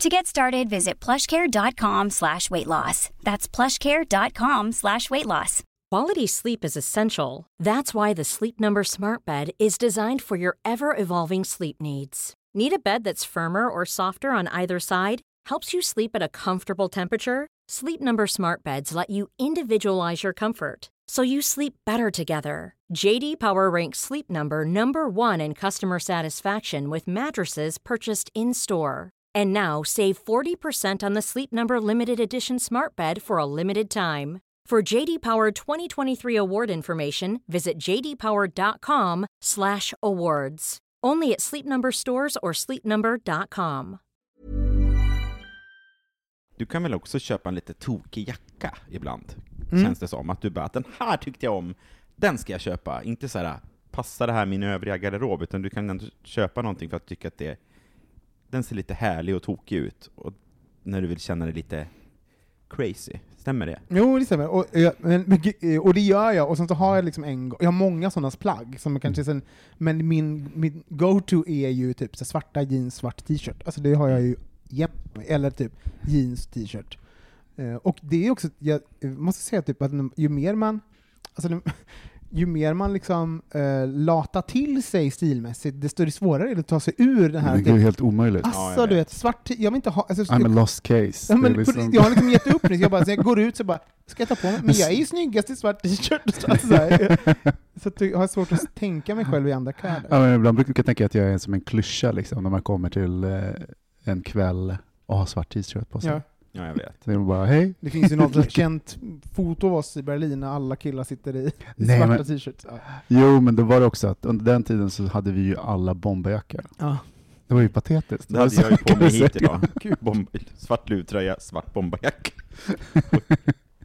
To get started, visit plushcare.com slash weight loss. That's plushcare.com slash weight loss. Quality sleep is essential. That's why the Sleep Number Smart Bed is designed for your ever evolving sleep needs. Need a bed that's firmer or softer on either side? Helps you sleep at a comfortable temperature? Sleep Number Smart Beds let you individualize your comfort so you sleep better together. JD Power ranks Sleep Number number 1 in customer satisfaction with mattresses purchased in-store. And now save 40% on the Sleep Number limited edition Smart Bed for a limited time. For JD Power 2023 award information, visit jdpower.com/awards. Only at Sleep Number stores or sleepnumber.com. du kan väl också köpa en lite tokig jacka ibland? Mm. Känns det som. Att du bara, att den här tyckte jag om, den ska jag köpa. Inte så här, passar det här min övriga garderob? Utan du kan ändå köpa någonting för att tycka att det, den ser lite härlig och tokig ut. Och när du vill känna dig lite crazy. Stämmer det? Jo, det stämmer. Och, eh, men, men gu- eh, och det gör jag, och sen så har jag liksom en gång- jag har många sådana plagg, som kanske sen, men min, min go-to är ju typ så svarta jeans, svart t-shirt. Alltså det har jag ju jämt, eller typ jeans, t-shirt. Eh, och det är också, jag eh, måste säga typ att ju mer man, alltså, nu- ju mer man liksom eh, latar till sig stilmässigt, desto svårare är det att ta sig ur den här... typ- Det är ju helt omöjligt. Ja, Alltså jag du vet. vet, svart t- jag vill inte ha... Alltså, I'm a lost case. Ja, men Det är på liksom- riktigt, Jag har liksom gett upp nu, så jag, bara, så jag går ut så bara, ska jag ta på mig? Men jag är ju snyggast i svart t-shirt. Alltså, så här. så att jag har svårt att tänka mig själv i andra kläder. Ja, men ibland brukar jag tänka att jag är som en klyscha liksom, när man kommer till eh, en kväll och har svart t-shirt på sig. Ja. Ja, jag vet. Så det är bara, hej. alltså. Det finns ju något känt foto av oss i Berlin när alla killar sitter i Nej, svarta men- t-shirts. Ja. Jo, men då var det också att under den tiden så hade vi ju alla bomberjackor. Ja. Det var ju patetiskt. Det hade jag ju på Kan mig du hit säga? idag. Bomb, svart luvtröja, svart bomberjacka.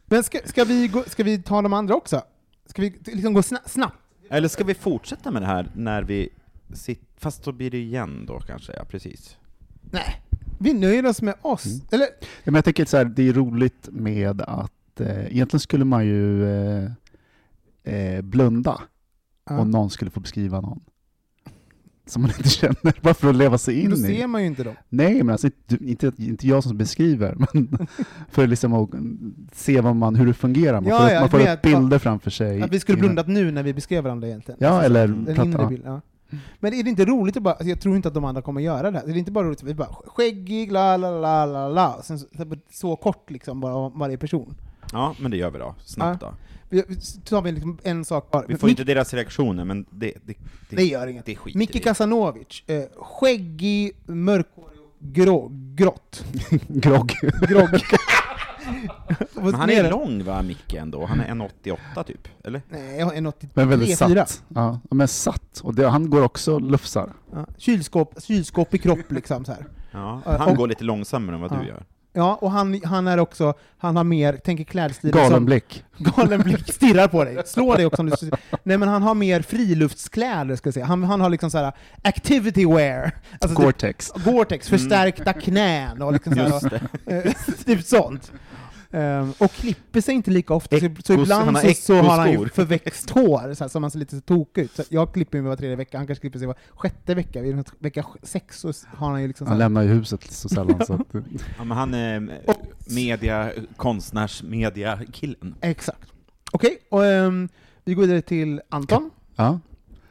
Men ska, ska, vi gå, ska vi ta de andra också? Ska vi t- liksom gå sna- snabbt? Eller ska vi fortsätta med det här när vi sitter... Fast då blir det igen då kanske, ja precis. Nej. Vi nöjer oss med oss. Eller, Ja, men jag tänker så här, det är roligt med att eh, egentligen skulle man ju eh, eh, blunda ja. om någon skulle få beskriva någon som man inte känner, bara för att leva sig in Då i. ser man ju inte dem. Nej, men alltså inte, inte, inte jag som beskriver, men för liksom att se vad man, hur det fungerar. Man Ja, får, upp- ja, man får jag upp vet. bilder framför sig. Att vi skulle innan- blundat nu när vi beskrev varandra egentligen. Ja, eller Den inre prata. bilden, ja. Men är det inte roligt att bara, alltså jag tror inte att de andra kommer göra det här. Är det inte bara roligt att vi bara skäggig, la la la la la, sen så, så kort liksom bara om varje person. Ja, men det gör vi då. Snabbt då. Vi, vi- så tar vi liksom en sak bara. Vi får inte deras reaktioner, men det... Det, det, det gör inget. Det skiter vi Micke i. Kasanovic, eh, skäggig, mörkhårig, grå, grått. Grogg. Grogg. Men han är lång va, Micke ändå? Han är 1,88 typ, eller? Nej, jag har en 83, Men väldigt 4. satt. Ja, men satt. Och det, han går också och lufsar. Ja, kylskåp, kylskåp i kropp liksom så här. Ja, Ja, han och- går lite långsammare än vad Ja. du gör. Ja, och han, han är också, han har mer, tänker klädstil Galen som- blick. galen blick, stirrar på dig, slår dig också om du... Nej men han har mer friluftskläder ska jag säga. Han, han har liksom såhär activity wear. Alltså typ Gore-Tex. Gore-Tex, förstärkta knän och liksom Mm. Just såhär, det. eh, typ sånt. Ehm, och klipper sig inte lika ofta, så, så Ekos- han ibland har så, så har han ju ekoskor. förväxt hår, så här, som han ser lite så tokig ut. Så jag klipper mig var tredje vecka, han kanske klipper sig var sjätte vecka. Vid vecka sex så har han ju liksom Han såhär, lämnar ju huset så sällan. så att, Ja, men han är eh, media, konstnärsmedia-killen. Exakt. Okej, och ehm, vi går vidare till Anton. ja.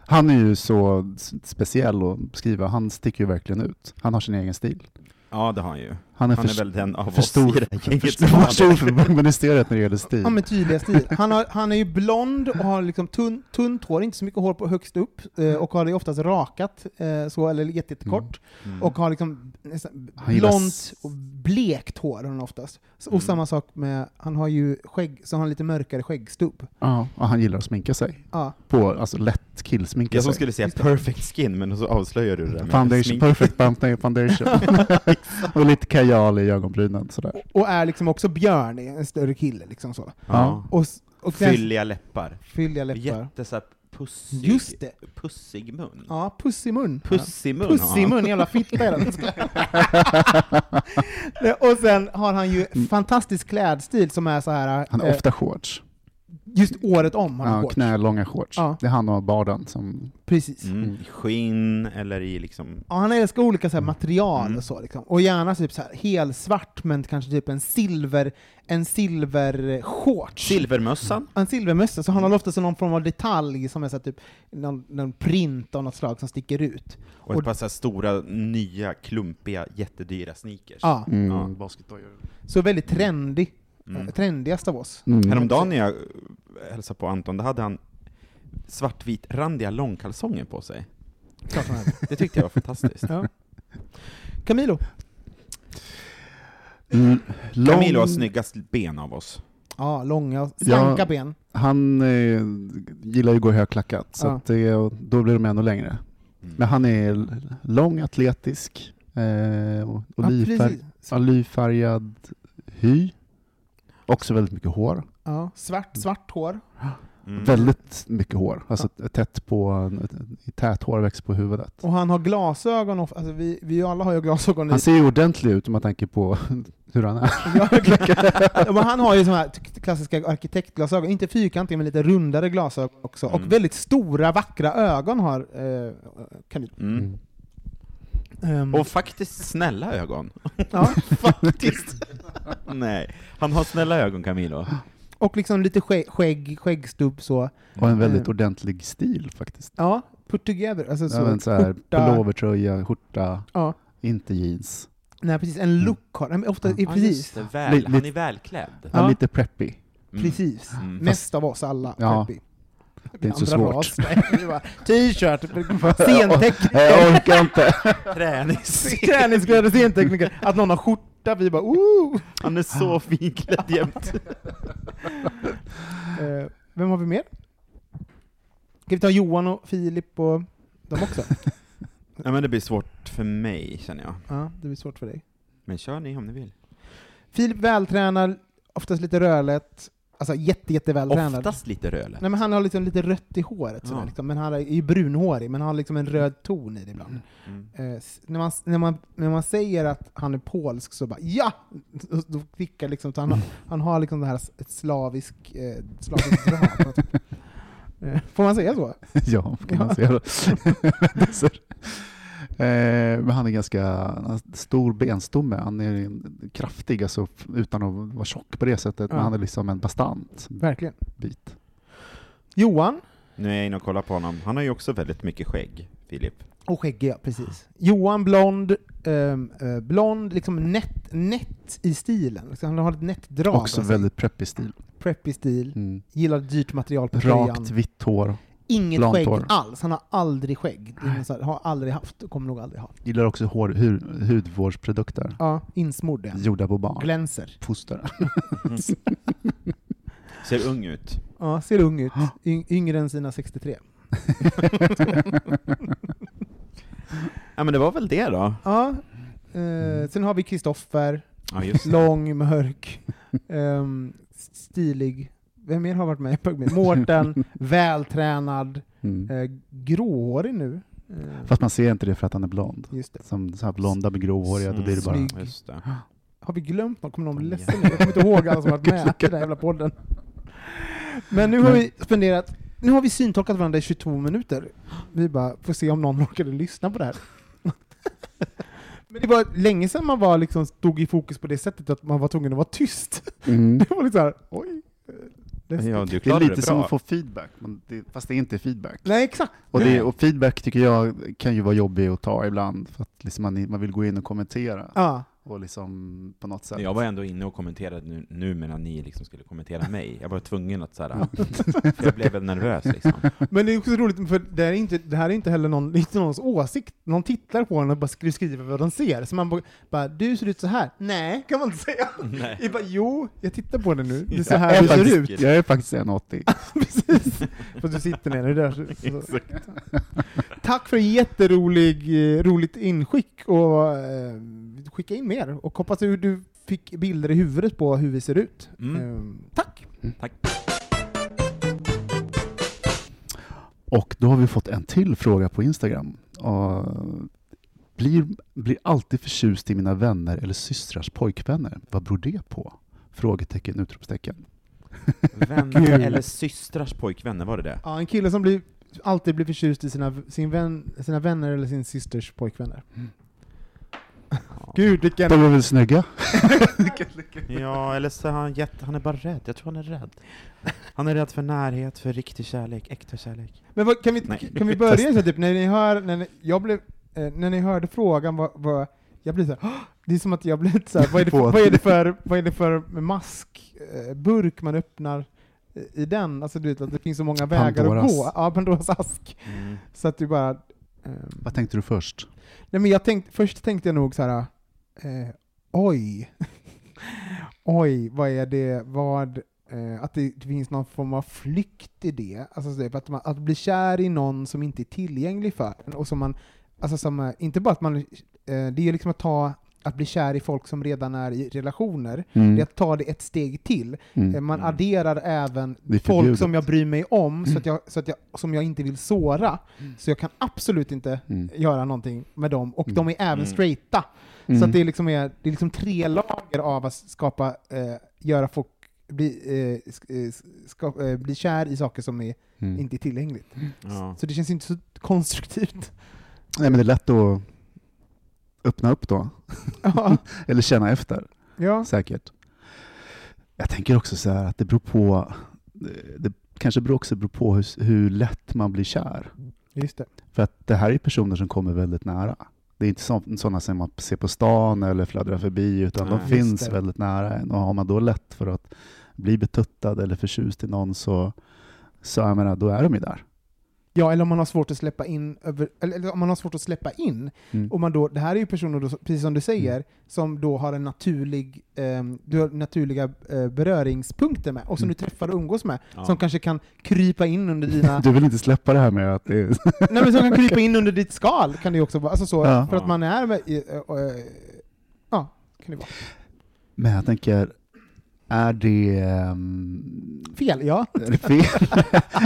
Han är ju så s- speciell att beskriva. Han sticker ju verkligen ut. Han har sin egen stil. Ja, det har han ju. Han är, Han för, är väl den av för oss i stor det här gänget som för stor har- för ministeriet när det gäller stil. Ja, men tydliga stil. Han, har, han är ju blond och har liksom tunn, tunt hår, inte så mycket hår på högst upp, eh, och har det oftast rakat, eh, så, eller jätte- jättekort. Mm. Och har liksom nästan Han gillar blont s- och blekt hår har han oftast. Så, och Mm. samma sak med, han har ju skägg, så har han lite mörkare skäggstubb. Ja, och han gillar att sminka sig. Ja. På, alltså lätt killsminka Jag sig. som skulle säga perfect skin, men så avslöjar du det där med Foundation, smink. perfect bump- foundation. och lite kajal i ögonbrynen. Sådär. Och är liksom också björn, är en större kille liksom så. Ja. Och, s- och sen- Fylliga läppar. Fylliga läppar. Jätte så här pussig, Just det. pussig mun. Ja, puss i mun. Pussig mun Puss i har han. mun, jävla fitta är den. Nej, Och sen har han ju Mm. fantastisk klädstil som är så här Han har eh, ofta shorts. just året om. har Han Ja, shorts. knälånga shorts. Ja. Det är han och barden som... Precis. Mm. I skinn eller i liksom... Ja, han älskar olika så här material Mm. och så. Liksom. Och gärna typ så här helsvart, men kanske typ en silver en silvershorts. Silvermössan. en silvermössa, så han har ofta så någon form av detalj som är så här typ någon, någon print av något slag som sticker ut. Och ett par så här stora, nya, klumpiga, jättedyra sneakers. Ja, Mm. Ja. så väldigt trendig. eh, Mm. Trendigast av oss. Mm. Häromdagen när jag eh, hälsade på Anton, då hade han svartvit-randiga långkalsonger på sig. Klart han är. Det tyckte jag var fantastiskt. Ja. Camilo? L- Mm. lång- Camilo har snyggast ben av oss. Ja, långa, och slanka Ja. ben. Han eh, gillar ju att gå i högklackat, så Ja. att det, och då blir de ännu längre. Men han är l- lång, atletisk, eh, och Ja, olivfärg, precis. olivfärgad hy. Också väldigt mycket hår. Ja, svart, svart hår. Mm. Väldigt mycket hår. Alltså tätt på, tät hår växer på huvudet. Och han har glasögon. Och, alltså vi, vi alla har ju glasögon. i- Han ser ju ordentlig ut om man tänker på hur han är. Ja, verkligen. Men han har ju såna här t- klassiska arkitektglasögon. Inte fyrkantiga, men lite rundare glasögon också. Mm. Och väldigt stora, vackra ögon har eh, Camilo. Mm. Ehm, Mm. Och faktiskt snälla ögon. ja. faktiskt. Nej, han har snälla ögon Camilo. och liksom lite skägg, skägg skäggstubb så. Och en väldigt ordentlig stil faktiskt. Ja, put together. Alltså, så, Så, en så här skjorta. pullovertröja, skjorta, Ja. inte jeans. Nej, precis. En look har Nej, men ofta, Mm. Ja, Ja, precis. just det, väl, Lite- han är välklädd. Ja. Ja. Lite preppy. Mm. Precis. Mm. Mest av oss alla. Ja. Peppy. Det är inte så Andra svårt. ras. Nej, det är bara T-shirt, scentekniker, Nej, Jag orkar inte. Tränings. träningskläder, scentekniker. Att någon har skjorta, vi "Oh." bara ooh! Han är så finklädd jämt. Eh, Vem har vi mer? Ska vi ta Johan och Filip och dem också? Ja, men det blir svårt för mig känner jag. Ja, det blir svårt för dig. Men kör ni om ni vill. Filip vältränad, Oftast lite rödlätt, alltså jätte, jättevältränad. Oftast lite rödlätt. Nej, men han har liksom lite rött i håret, sådär, Ja. liksom. men han är ju brunhårig, men han har liksom en röd ton i det ibland. Mm. Eh, s- när, man, s- när, man, när man säger att han är polsk så bara ja! Då- Då klickar liksom, så han, har, Mm. han har liksom det här s- ett slavisk, eh, slaviskt drag. på något sätt. Eh, Får man säga så? ja, kan man säga då. Det ser- Eh, Men han är ganska han har stor benstomme. Han är en- kraftig, alltså, f- utan att vara tjock på det sättet. Ja. Men han är liksom en bastant Verkligen. bit. Johan Nu är jag inne och kollar på honom. Han har ju också väldigt mycket skägg, Filip. och skäggig, ja, precis. Johan blond, ehm, eh, blond, liksom nätt, nätt i stilen. Liksom, han har ett nätt drag. Också av sig. väldigt preppig stil. Preppig stil, Mm. gillar dyrt material på tröjan. Rakt vitt hår. Inget blont skägg hår. alls. Han har aldrig skägg. Det är någon så här, Har aldrig haft, och kommer nog aldrig ha. Gillar också hår, hud, hudvårdsprodukter. Ja, insmord är han. Gjorda på barn. Glänser. Foster. Ser ung ut. Ja, ser ung ut. Y- yngre än sina 63. Ja, men det var väl det då. Ja. Eh, Sen har vi Kristoffer, Ja, just det. lång, mörk, ehm, stilig. Vem mer har varit med? Mårten, vältränad, Mm. eh, gråhårig nu. Eh, Fast man ser inte det för att han är blond. just det. Som så här blonda med gråhåriga, då blir det bara... Snygg. Mm. Just det. Har vi glömt någon? Kommer någon bli Ja. ledsen? nu? Jag kommer inte ihåg alla som varit med i den här jävla podden. Men nu har vi spenderat, nu har vi syntolkat varandra i 22 minuter. Vi bara, får se om någon orkade lyssna på det här. Men det var länge sedan man var liksom stod i fokus på det sättet att man var tvungen att vara tyst. Mm. Det var lite såhär, oj. eh, läskigt. Ja, du Det är klarade det, lite som bra. att få feedback, men det, fast det är inte feedback. Nej, exakt. Och, det, och feedback tycker jag kan ju vara jobbig att ta ibland, för att liksom man, man vill gå in och kommentera. Ja, Och liksom på något sätt. Jag var ändå inne och kommenterade nu, nu medan ni liksom skulle kommentera mig. Jag var tvungen att så här, för jag blev väl nervös liksom. men det är också roligt, för det här är inte, det här är inte heller någon, inte någons åsikt. Någon tittar på en och bara skri- skriver vad de ser. Så man bara- bara, du ser ut så här. Nej, kan man inte säga. Nej. Jag bara, jo, jag tittar på det nu. Det är Ja, så jag, här är det ser faktiskt, ut. jag är faktiskt 1,80. Precis. För du sitter ner, det är där. Så. Tack för en jätterolig, eh, roligt inskick och eh, skicka in mer och hoppas att du fick bilder i huvudet på hur vi ser ut. Mm. Eh, Tack! Tack. Och då har vi fått en till fråga på Instagram. Och blir, blir alltid förtjust i mina vänner eller systrars pojkvänner. Vad beror det på? Frågetecken, utropstecken. Vänner eller systrars pojkvänner, var det det? Ja, en kille som blir, alltid blir förtjust i sina, sin vän, sina vänner eller sin systers pojkvänner. Gud vilken... De är väl snygga? Ja, eller så är han jätte, han är bara rädd. Jag tror han är rädd. Han är rädd för närhet, för riktig kärlek, äkta kärlek. Men vad, kan, vi, Nej. kan vi börja så typ, när ni hör, när ni, jag blev, eh, när ni hörde frågan vad, vad jag blev så här, "Åh!" det är som att jag blev lite så här, vad är det för, På- vad är det för, vad är det för maskburk man öppnar eh, i den? Alltså du vet att det finns så många vägar Pandoras. att gå. Ja, Pandoras ask. Så att du bara... ehm, Vad tänkte du först? nej men jag tänkte, först tänkte jag nog så här, eh, oj, oj, vad är det, vad, eh, att det finns någon form av flykt i det. Alltså så typ att, man, att bli kär i någon som inte är tillgänglig för en, och som man, alltså som, eh, inte bara att man, eh, det är ju liksom att ta, att bli kär i folk som redan är i relationer, det är att ta det ett steg till. Mm. Eh, Man Mm. adderar även Det är folk förbjudet. Mm. som jag bryr mig om, så att jag, så att jag, som jag inte vill såra. Så jag kan absolut inte Mm. göra någonting med dem. Och Mm. de är även Mm. straighta. Så Mm. att det, är liksom är, det är liksom tre lager av att skapa, eh, göra folk bli, eh, sk- eh, ska, eh, bli kär i saker som är, Mm. inte är tillgängligt. Ja. Så det känns inte så konstruktivt. Nej, men det är lätt att öppna upp då, ja. eller känna efter, ja. säkert. Jag tänker också så här att det beror på, det kanske beror också beror på hur, hur lätt man blir kär. Just det. För att det här är personer som kommer väldigt nära. Det är inte så- sådana som man ser på stan eller fladdrar förbi, utan Nej. de Just finns det. väldigt nära en. Och har man då lätt för att bli betuttad eller förtjust i någon så, så jag menar, då är de ju där. Ja, eller om man har svårt att släppa in, över, eller, eller om man har svårt att släppa in, Mm. Och man då, det här är ju personer, då, precis som du säger, som då har en naturlig, ehm, du har naturliga eh, beröringspunkter med, och som Mm. du träffar och umgås med, Ja. som kanske kan krypa in under dina... Du vill inte släppa det här med att det är... nej men som kan krypa in under ditt skal, kan det ju också vara. Alltså så, Ja. för att Ja. man är... Med, i- eh, eh, ja, kan det vara. Men jag tänker, Är det... ehm, Fel, ja. är det fel?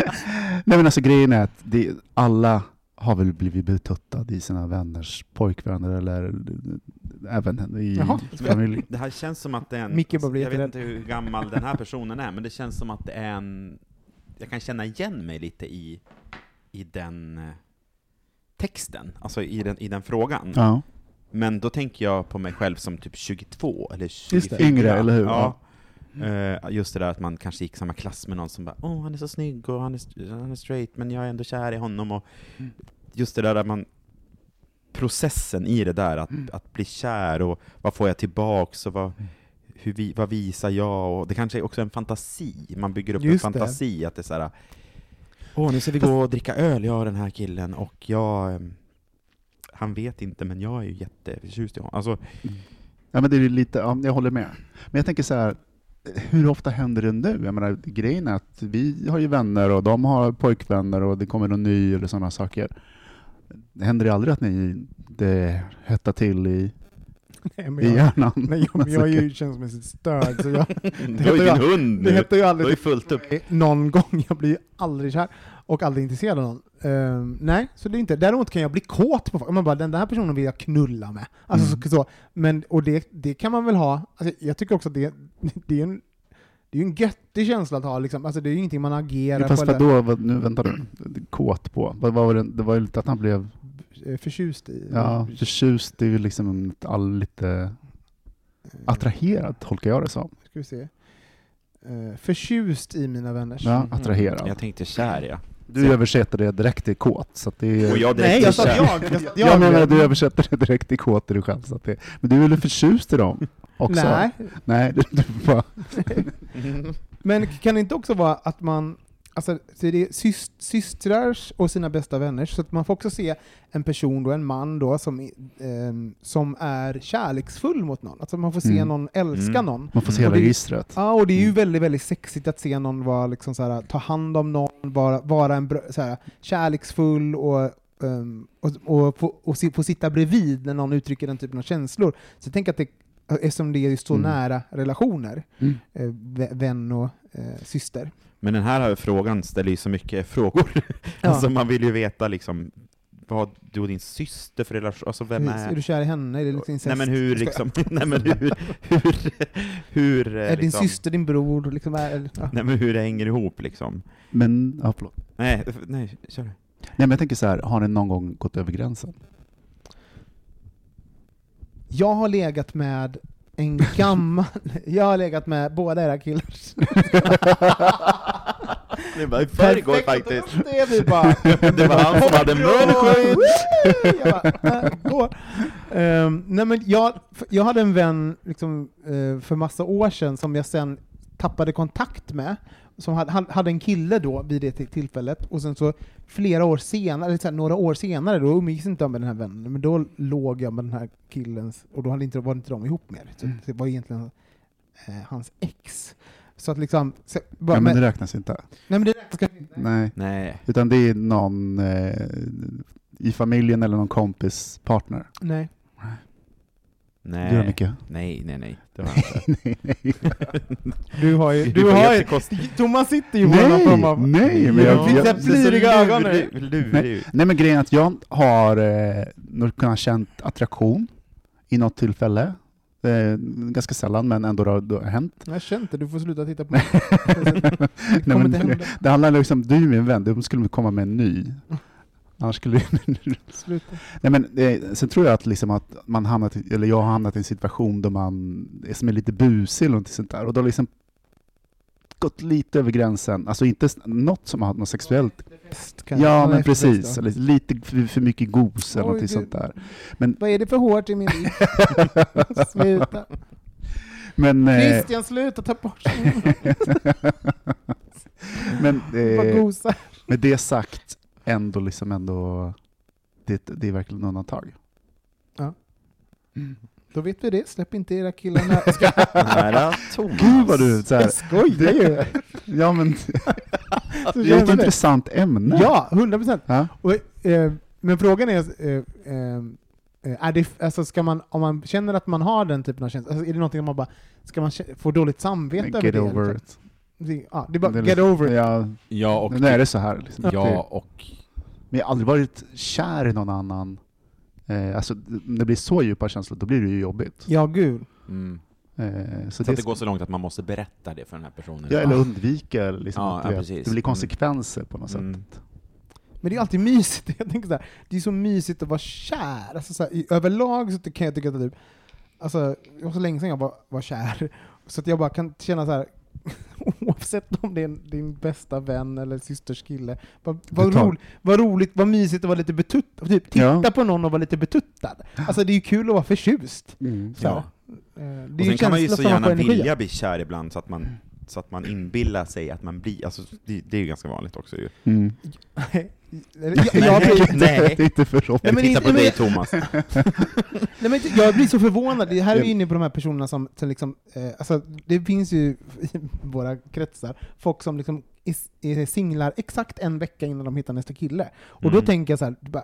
Nej men alltså grejen är att det, alla har väl blivit betuttade i sina vänners pojkvänner eller eh, även i Jaha. familj. Det här känns som att det är en... Micke bara blir jag vet jätterädd. inte hur gammal den här personen är, men det känns som att det är en... Jag kan känna igen mig lite i, i den eh, texten, alltså i den, i den frågan. Ja. Men då tänker jag på mig själv som typ 22 eller det. 24. Yngre, eller hur? Ja. Eh, Just det där att man kanske gick samma klass med någon som bara ”Åh, han är så snygg och han är, han är straight, men jag är ändå kär i honom”. Och Mm. just det där att man processen i det där, att, att bli kär och vad får jag tillbaks och vad, hur vi, vad visar jag? Och det kanske är också en fantasi, man bygger upp Just en det. fantasi att det är så här Åh, nu ska vi gå och dricka öl, jag och den här killen, och jag... ehm, Han vet inte, men jag är ju jätteförtjust i honom. Alltså, Ja, men det är ju lite, ja, jag håller med. Men jag tänker så här, hur ofta händer det nu? Jag menar, grejen är att vi har ju vänner och de har pojkvänner och det kommer någon ny eller sådana saker. Händer det aldrig att ni det hettar till i, Nej, men i jag, hjärnan? nej, jag, jag är ju känslomässigt störd, så jag, du heter har ju jag. din hund det nu! heter ju Du har ju aldrig fullt upp. någon gång. Jag blir ju aldrig kär och aldrig intresserad av någon. Ehm, nej, så det är inte. Däremot kan jag bli kåt på folk. Man bara, den där personen vill jag knulla med. Alltså Mm. så, så. Men, och det, det kan man väl ha. Alltså, jag tycker också att det, det är en det är ju en göttig känsla att ha, liksom. alltså, det är ju ingenting man agerar Jo, Fast på vad då, vad, nu vänta nu, kåt på? Vad, vad var det, det var ju lite att han blev eller eh, förtjust i. ja, förtjust, det är ju liksom ett all, lite attraherad, tolkar jag det som. Ska vi se. Eh, förtjust i mina vänners. Ja, Jag attraherad. tänkte kär, ja. Du översätter det direkt till kåt, så att det är... Och jag direkt Nej, är jag sa kär. jag. jag, sa Jag, jag menar, du översätter det direkt till kåt är du själv. Så att det, men du är väl förtjust i dem också? Nej, Nej, du, du bara, Men kan det inte också vara att man, alltså så det är syst, systrars och sina bästa vänners, så att man får också se en person då, en man då, som, ehm, som är kärleksfull mot någon. Alltså man får se Mm. någon älska Mm. någon. man får se hela Och det- registret. Ja, och det är ju väldigt, väldigt sexigt att se någon vara liksom så här, ta hand om någon, vara, vara en bra, så här, kärleksfull och, ehm, och, och, få- och, si- få sitta bredvid när någon uttrycker den typen av känslor. Så jag tänker att det, eftersom det är ju så Mm. nära relationer, Mm. eh, vä- vän och eh, syster. Men den här frågan ställer ju så mycket frågor. Ja. Alltså man vill ju veta liksom vad du och din syster för relation, alltså vem Precis. Är är... du kär i henne? Är det liksom incest? Nej men Jag hur skojar. liksom, nej men hur, hur, hur... eh, Är din liksom, syster din bror? Liksom, är, eller- ja. Nej men hur det hänger ihop liksom. Men, ja, förlåt. Nej, f- nej, kör du. Nej, men jag tänker så här, har ni någon gång gått över gränsen? Jag har legat med en gammal... jag har legat med båda era killar. Det var i förrgår faktiskt. Det är vi bara... Det var han som hade munskydd. Jag bara, äh, gå. Ehm, nej men jag, jag hade en vän liksom, eh, för massa år sedan som jag sen tappade kontakt med. Som hade, han hade en kille då vid det till- tillfället, och sen så flera år senare, eller så här, några år senare, då umgicks inte jag med den här vännen, men då låg jag med den här killens, och då hade inte, var inte de ihop mer. Så det var egentligen eh, hans ex. Så att liksom... Så, bara, Nej, men, men det räknas inte. nej men det räknas kanske inte. Nej, Nej. utan det är någon eh, i familjen eller någon kompis partner. Nej. Du då, Nej. Micke? Nej, nej, nej. Det var han inte. Nej, nej. Du har ju... Det Du var har ju jättekonstigt. Thomas sitter ju på någon Nej, form av... nej, men jag, Ja. jag, Fick jag pliriga ögon nu? Lurig- Lurig. Nej men grejen är att jag har eh, nog kunnat känt attraktion i något tillfälle. Eh, ganska sällan, men ändå det har det har hänt. Jag känner inte, du får sluta titta på mig. Nej, kommer men inte det, hända. det handlar liksom, du är min vän, du skulle komma med en ny. Annars skulle Sluta. Nej, men, eh, sen tror jag att, liksom att man hamnat, i- eller jag har hamnat i en situation där man är, som är lite busig eller något sånt där. Och då har liksom gått lite över gränsen. Alltså inte s- något som har haft något sexuellt Fest, kanske. Ja, Han är men efter fest, precis. då. Eller lite för, för mycket gos eller Oj, något gud. sånt där. Vad är det för hårt i min liv? sluta. Men, eh, Christian, sluta ta bort mig. men Vad eh, gosa. med det sagt, ändå liksom ändå, det, det är verkligen undantag. Då vet vi det. Släpp inte era killar när jag ska... Nära Thomas. Gud vad du så här, Jag skojar ju! Ja men, Så det är känns ett det. intressant ämne. Ja, 100 procent. Ja. Men frågan är... Eh, eh, Eh, Är det, alltså ska man, om man känner att man har den typen av känsla, alltså är det någonting man bara, ska man kä- få dåligt samvete över Get det? over eller? it. Det- Ja, det är bara Det är get lite- over it. Ja, Ja, och... nu är det så här. Liksom. Ja, och... Men jag har aldrig varit kär i någon annan. Eh, alltså, d- när det blir så djupa känslor, då blir det ju jobbigt. Ja, gud. Mm. Eh, så Så att det, det går så långt att man måste berätta det för den här personen. ja, eller undvika. Liksom, Ja, att ja, du vet, precis. det Mm. blir konsekvenser på något Mm. sätt. Men det är alltid mysigt. Jag tänker så här, det är så mysigt att vara kär. Alltså så här, i, överlag så ty- kan jag tycka att typ, alltså, det var så länge sedan jag var, var kär. Så att jag bara kan känna så här, oavsett om det är din bästa vän eller systers kille, vad, vad, tar- roligt, vad roligt, vad mysigt att vara lite betuttad. Typ, titta Ja. på någon och vara lite betuttad. Alltså det är ju kul att vara förtjust. Så här. Ja. Eh, Och Det är ju sen kan man ju känslor så som man får gärna energi vilja av. bli kär ibland så att man, så att man inbillar sig att man blir... Alltså, det, det är ju ganska vanligt också ju. Mm. Eller, jag- jag blir- Nej. det är inte för Nej, men Titta inte- på men- dig Thomas. Nej, men jag blir så förvånad. Det här är ju inne på de här personerna som, som liksom, eh, alltså, det finns ju i våra kretsar folk som liksom is- är singlar exakt en vecka innan de hittar nästa kille. Och då Mm. tänker jag så här, bara,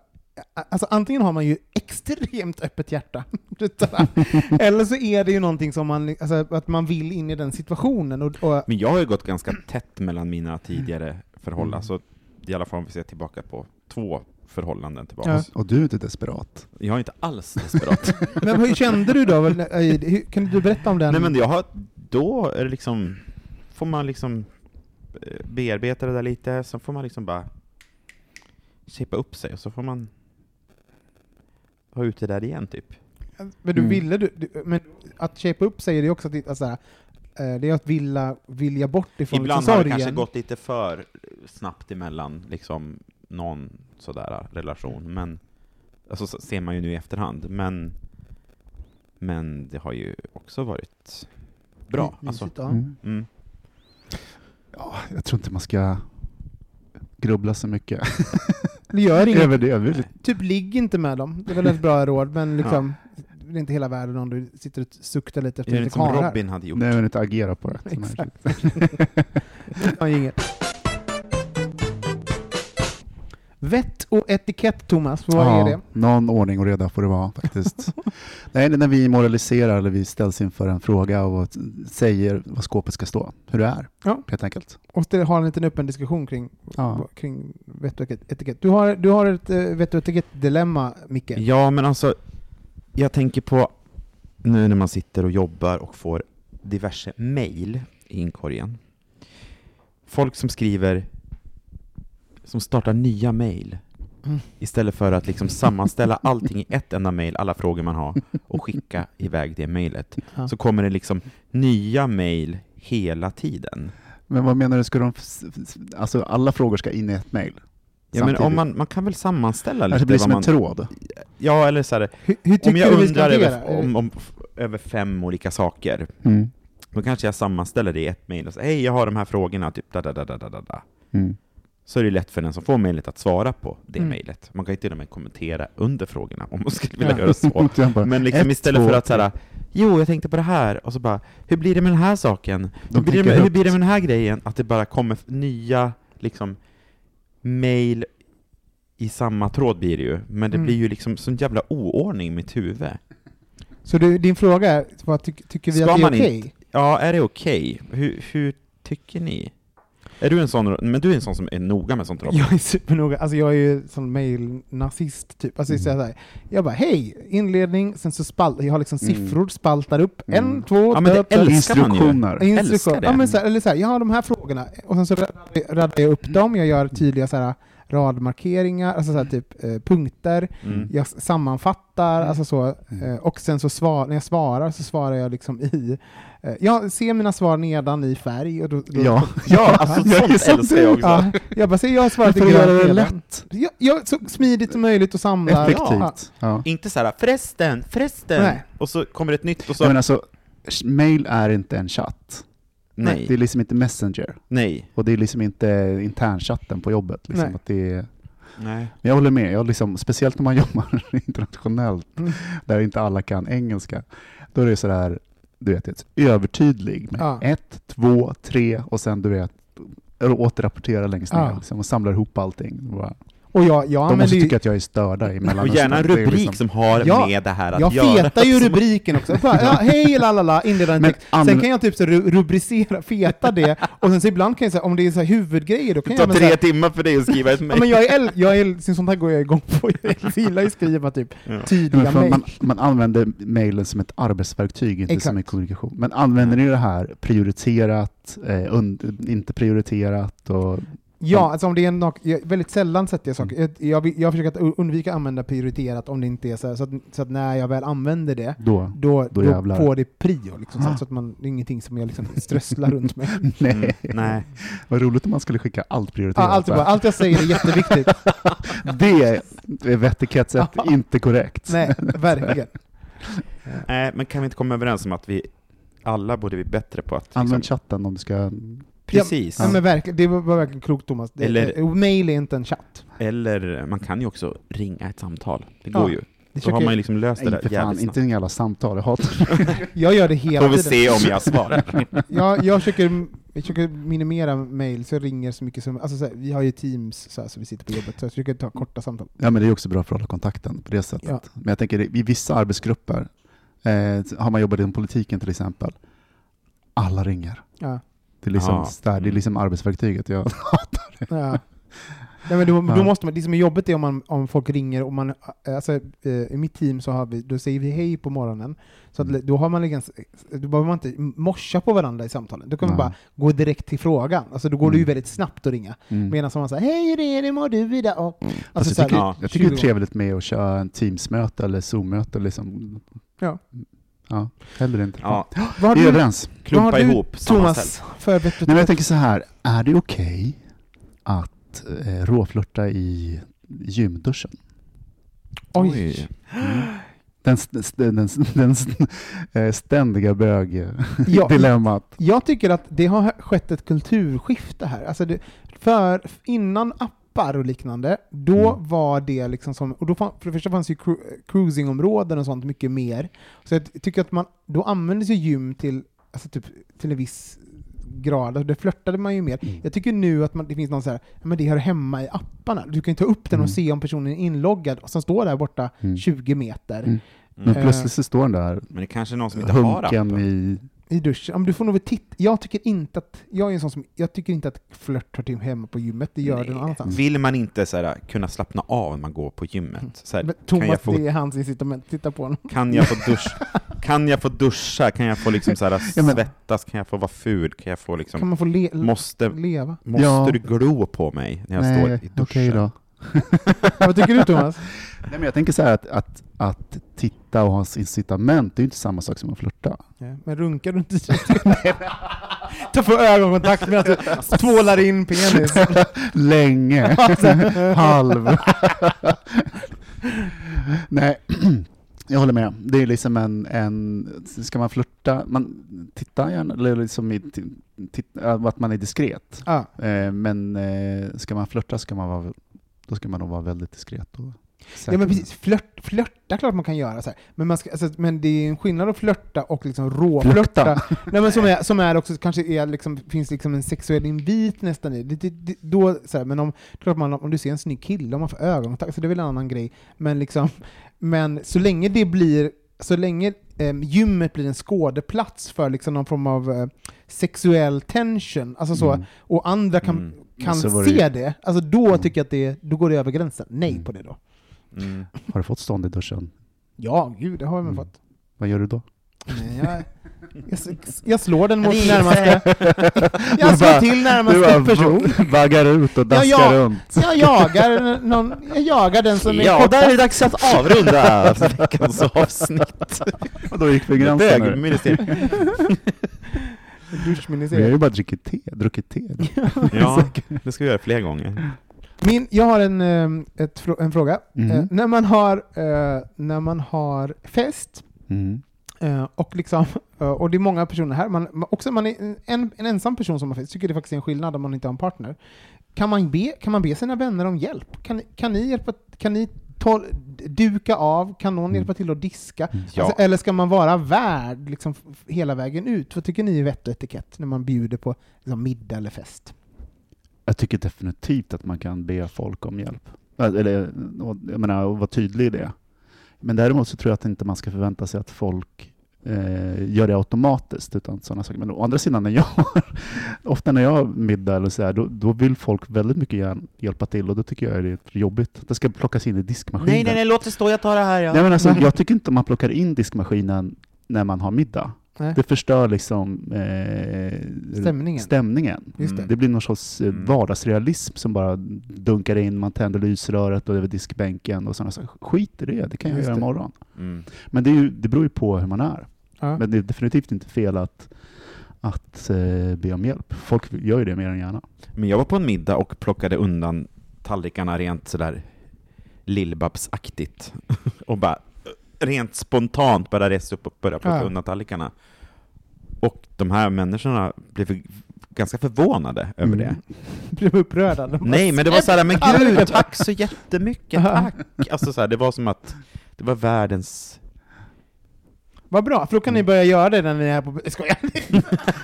alltså antingen har man ju extremt öppet hjärta, utan att- eller så är det ju någonting som man, alltså, att man vill in i den situationen. Och, och, Men jag har ju gått ganska tätt mellan mina tidigare förhållanden. Mm. Alltså, I alla fall om vi ser tillbaka på två förhållanden tillbaka. Ja. Och du är inte desperat. Jag är inte alls desperat. men hur kände du då? eh, Hur- Kan du berätta om den? Nej men jag har, då är det liksom, får man liksom eh, bearbeta det där lite, sen får man liksom bara chippa upp sig och så får man ha ut det där igen typ. Men du Mm. ville, du, du, men att shapea upp sig är det också att, alltså, här, eh, det är att vilja, vilja bort ifrån Ibland liksom har det sorgen. kanske gått lite för snabbt emellan liksom någon sådär relation, men alltså så ser man ju nu i efterhand, men men det har ju också varit bra. My- Alltså, mysigt, ja. Mm. mm. Ja, jag tror inte man ska grubbla så mycket Det gör inget. över det. Nej. Typ ligg inte med dem. Det är väl ett bra råd, men liksom, det är inte hela världen om du sitter och suktar lite Är efter det lite inte som karlar. liksom Robin hade gjort? Nej, men inte agera på det. Exakt. Ja, inget. Vett och etikett, Thomas. Vad är det? Någon ordning och reda får det vara faktiskt. Nej, det är när vi moraliserar eller vi ställs inför en fråga och säger vad skåpet ska stå, hur det är, Ja. helt enkelt. Och det har en liten öppen diskussion kring, Ja. kring vett och etikett. Du har, du har ett eh, vett och etikett-dilemma, Micke. Ja, men alltså, jag tänker på nu när man sitter och jobbar och får diverse mejl i inkorgen. Folk som skriver, som startar nya mejl Mm. istället för att liksom sammanställa allting i ett enda mejl, alla frågor man har, och skicka iväg det mejlet. Ja. Så kommer det liksom nya mejl hela tiden. Men vad menar du, ska de f- f- alltså alla frågor ska in i ett mejl? Ja, men om Samtidigt. man, man kan väl sammanställa Alltså, lite? det blir vad som en man, tråd. ja, eller så här, Hur, hur tycker om jag du vi ska undrar agera? över, om, om, f- över fem olika saker, Mm. Då kanske jag sammanställer det i ett mejl och säger hej, jag har de här frågorna, typ da, da, da, da, da, da, da. Mm. Så är det lätt för den som får mejlet att svara på det Mm. mejlet. Man kan ju till och med kommentera under frågorna om man skulle vilja Ja. göra så. Jag bara, Men liksom ett, istället för två, att säga jo, jag tänkte på det här, och så bara, hur blir det med den här saken? Hur De blir, det tänker med, hur högt. blir det med den här grejen? Att det bara kommer f- nya liksom, mejl i samma tråd blir det ju, men det Mm. blir ju liksom sån jävla oordning i mitt huvud. Så du, din fråga är, vad tyck- tycker vi Ska att det är man okej? Ja, är det okej? Hur, hur tycker ni? Är du en sån, men du är en sån som är noga med sånt Robin? Jag är supernoga. Alltså jag är ju sån mail-nazist typ. Alltså Mm. så här, jag bara hej, inledning, sen så spalt, jag har liksom Mm. siffror, spaltar upp, Mm. en, två, Ja, men det döpt, döpt, älskar man ju. Instruktioner. instruktion. älskar det. Ja, men så här, eller så här, jag har de här frågorna, och sen så rad- raddar jag Mm. upp dem, jag gör tydliga så här, radmarkeringar, alltså så här, typ eh, punkter, Mm. jag s- sammanfattar, Mm. alltså så, eh, och sen så svar, när jag svarar så svarar jag liksom i, eh, jag ser mina svar nedan i färg och då, då Ja. Ja, alltså Jag är sånt älskar som jag också. Ja, jag bara, säger jag har svarat i För att göra grönt det redan. lätt, Ja, ja, så smidigt som möjligt och samlar. Ja. effektivt. Ja. Inte så här förresten, förresten, Nej. och så kommer ett nytt och så Men alltså, mail är inte en chatt. nej, Det är liksom inte Messenger. nej, Och det är liksom inte internchatten på jobbet. Liksom, Nej. att det är, nej. men jag håller med, jag liksom, speciellt när man jobbar internationellt, Mm. där inte alla kan engelska. Då är det sådär, du vet, ett övertydlig med Ja. ett, två, tre och sen du vet, återrapportera längst ner Ja. liksom, och samlar ihop allting. Bara, Och jag, jag De använder måste ju- tycka att jag är störda i Och Mellanöstern. gärna en Det är rubrik liksom- som har Ja, med det här att Jag göra. fetar ju rubriken också. Bara, ja, hej lalala, inledande Men text. anv- Sen kan jag typ så ru- rubricera, feta det, och sen så ibland kan jag säga om det är så här huvudgrejer, då kan Det jag tar använda så tre här, timmar för dig att skriva ett Ja, mejl. men jag är el- jag är el- sånt här går jag igång på. Jag gillar ju att skriva typ Ja, tydliga men för mejl. man, man använder mejlen som ett arbetsverktyg, inte som Exakt. en kommunikation. Men använder ni det här prioriterat, eh, und, inte prioriterat och... Ja, alltså om det är en nak- jag, väldigt sällan sätter jag Mm. saker. Jag, jag, vill- jag försöker att u- undvika att använda prioriterat om det inte är så här, så att, så att när jag väl använder det, Mm, Då? då, då, jävlar. Ah. får det prio. Liksom, så, att, så att man, det är ingenting som jag liksom strösslar runt med. Nej. Mm, Nej. Vad roligt om man skulle skicka allt Ja, prioriterat. allt, är bara, allt jag säger är jätteviktigt. Det är ett etikett sätt inte korrekt. Nej, verkligen. Nej, men kan vi inte komma överens om att vi alla borde bli bättre på att... Liksom, Använd chatten om du ska... precis. Ja, men verkligen, det var var verkligen klokt Thomas. Det, Eller- eh, mail är inte en chatt. Eller man kan ju också ringa ett samtal. Det Ja, går ju. Det Då har försöker- man ju liksom löst det Nej, där inte fan, jävligt inte snabbt. i alla samtal. Jag hatar Jag gör det Får hela vi tiden. se om jag svarar. Jag, jag, försöker, jag försöker minimera mail, så jag ringer så mycket som alltså, så här, Vi har ju Teams så, här, så vi sitter på jobbet, så jag försöker ta korta samtal. Ja, men det är också bra för att hålla kontakten på det sättet. Ja. Men jag tänker i vissa arbetsgrupper, eh, har man jobbat inom politiken till exempel, alla ringer. Ja. Det är liksom, Ja. Mm. där, det är liksom arbetsverktyget. Jag, Ja. Nej, men då, Ja. då måste man, det som är jobbigt är om, man, om folk ringer och man, alltså, eh, i mitt team så har vi, då säger vi hej på morgonen, så att, Mm. då, har man liksom, då behöver man inte morsa på varandra i samtalen. Då kan man Nej. bara gå direkt till frågan. Alltså, då går det ju Mm. väldigt snabbt att ringa. mm. Medan om man säger hej hur är det, hur mår du idag? Och, alltså, så här, jag tycker, ja, jag tycker det 20 är gånger. trevligt med att köra en Teams-möte eller Zoom-möte. Liksom. Ja. ja. Hellre inte. Ja, Vad har Vi är du, överens. vad har klumpa du ihop, sammanställ. Thomas, förberett Nej, men jag tänker så här, är det okej att eh, råflörta i gymduschen? Oj. Mm. Den, st- st- den, st- den st- eh, ständiga Ja. bög-dilemmat. Jag tycker att det har skett ett kulturskifte här. Alltså det, för innan appar och liknande, då Mm. var det liksom som... Och då fann, för det första fanns ju cru, cruisingområden och sånt mycket mer. Så jag ty- tycker att man, då användes ju gym till, alltså typ, till en viss grad, alltså det flörtade man ju mer. Mm. Jag tycker nu att man, det finns någon så här, "Ja, men det hör hemma i apparna. Du kan ju ta upp den och Mm. se om personen är inloggad, och sen står där borta Mm. 20 meter Mm. Men Mm. plötsligt så står den där Men det kanske är någon som inte har hunken appen. i... i duschen. Ja, men du får nog väl titta. Jag tycker inte att, jag är en sån som, jag tycker inte att flört hör till hemma på gymmet, det gör det någon annanstans. Vill man inte så här, kunna slappna av när man går på gymmet? Så här, Men kan, Thomas, jag få, det är hans incitament. Titta på honom. kan, jag få dusch, kan jag få duscha? Kan jag få liksom så här, Ja, men- svettas? Kan jag få vara ful? Kan jag få Kan liksom, man få le måste, leva? måste Ja. du glo på mig när jag Nej, står i duschen? okej då. Vad tycker du Thomas? Nej, men jag tänker så här att, att, att titta och ha incitament, det är ju inte samma sak som att flirta. Ja, men runkar du inte? Ta för ögonkontakt medan du Alltså, tvålar in penis. Länge. Halv. Nej, jag håller med. Det är liksom en... en ska man flirta, man tittar gärna, eller liksom i, t- titt, äh, att man är diskret. Ja. Eh, Men eh, ska man flirta ska man vara, då ska man nog vara väldigt diskret. Och säker. Ja men precis, flört, flörta klart man kan göra så här. Men, man ska, alltså, men det är en skillnad att flörta och liksom råflörta. Flörta. Nej, men som, är, som är också, kanske är liksom, finns liksom en sexuell invit nästan i det. det, det då, så här, men om, klart man, om du ser en snygg kille, om man får ögonkontakt, så det är väl en annan grej. Men, liksom, men så länge det blir, så länge em, gymmet blir en skådeplats för liksom någon form av eh, sexuell tension, alltså så, Mm. och andra kan, Mm. kan Så var det ju- se det, alltså då Mm. tycker jag att det, då går det över gränsen. Nej Mm. på det då. Mm. Har du fått stånd i duschen? Ja, gud, det har jag väl Mm. fått. Vad gör du då? Nej, jag, jag, s- jag slår den mot Nej. närmaste... Du Jag slår bara- till Du närmaste person. bara vaggar ut och daskar Ja, ja. runt. Jag jagar, någon, jag jagar den som är Ja, kortast. där är det dags att avrunda alltså, veckans avsnitt. Och då gick vi gränsen. nu. Bögministeriet. Vi har Duschministeriet. ju bara druckit te. Druckit te. Ja, det ska vi göra fler gånger. Min, jag har en, ehm, ett, frå- en fråga. Mhm. Eh, när, man har, eh, när man har fest, Mm. eh, och, liksom, eh, och det är många personer här, man, man- också man är en, en ensam person som har fest, tycker det faktiskt är en skillnad om man inte har en partner. Kan man be, kan man be sina vänner om hjälp? Kan, kan ni hjälpa, kan ni ta, duka av? Kan någon hjälpa till att diska? Mm. Ja. Alltså, eller ska man vara värd liksom, f- hela vägen ut? Vad tycker ni är vett och etikett när man bjuder på liksom, middag eller fest? Jag tycker definitivt att man kan be folk om hjälp. Äh, Eller, och- jag menar, och vara tydlig i det. Men däremot så tror jag att inte man ska förvänta sig att folk eh, gör det automatiskt. Utan sådana saker. Men å andra sidan, när jag har, ofta när jag har middag eller så här, då, då vill folk väldigt mycket gärna hjälpa till och då tycker jag det är jobbigt. Det ska plockas in i diskmaskinen. Nej, nej, nej, låt det stå, jag tar det här. Ja. Nej, men alltså, jag tycker inte man plockar in diskmaskinen när man har middag. Nej. Det förstör liksom eh, Stämningen. stämningen. Just det. Det blir någon sorts eh, Mm. vardagsrealism som bara dunkar in, man tänder lysröret och över diskbänken och sådana saker. Skit i det, det kan jag Just göra det. imorgon. Mm. Men det, är ju, det beror ju på hur man är. Ja. Men det är definitivt inte fel att, att eh, be om hjälp. Folk gör ju det mer än gärna. Men jag var på en middag och plockade undan tallrikarna rent sådär lillbabsaktigt och bara eh, rent spontant bara reste upp och började plocka Ja. undan tallrikarna. Och de här människorna blev för- ganska förvånade över det. Mm. Blev upprörda. De bara, Nej, men det var så här, men gud, tack så jättemycket, tack! Alltså så här, det var som att det var världens... Vad bra, för då kan ni börja göra det när ni är på... Jag skojar.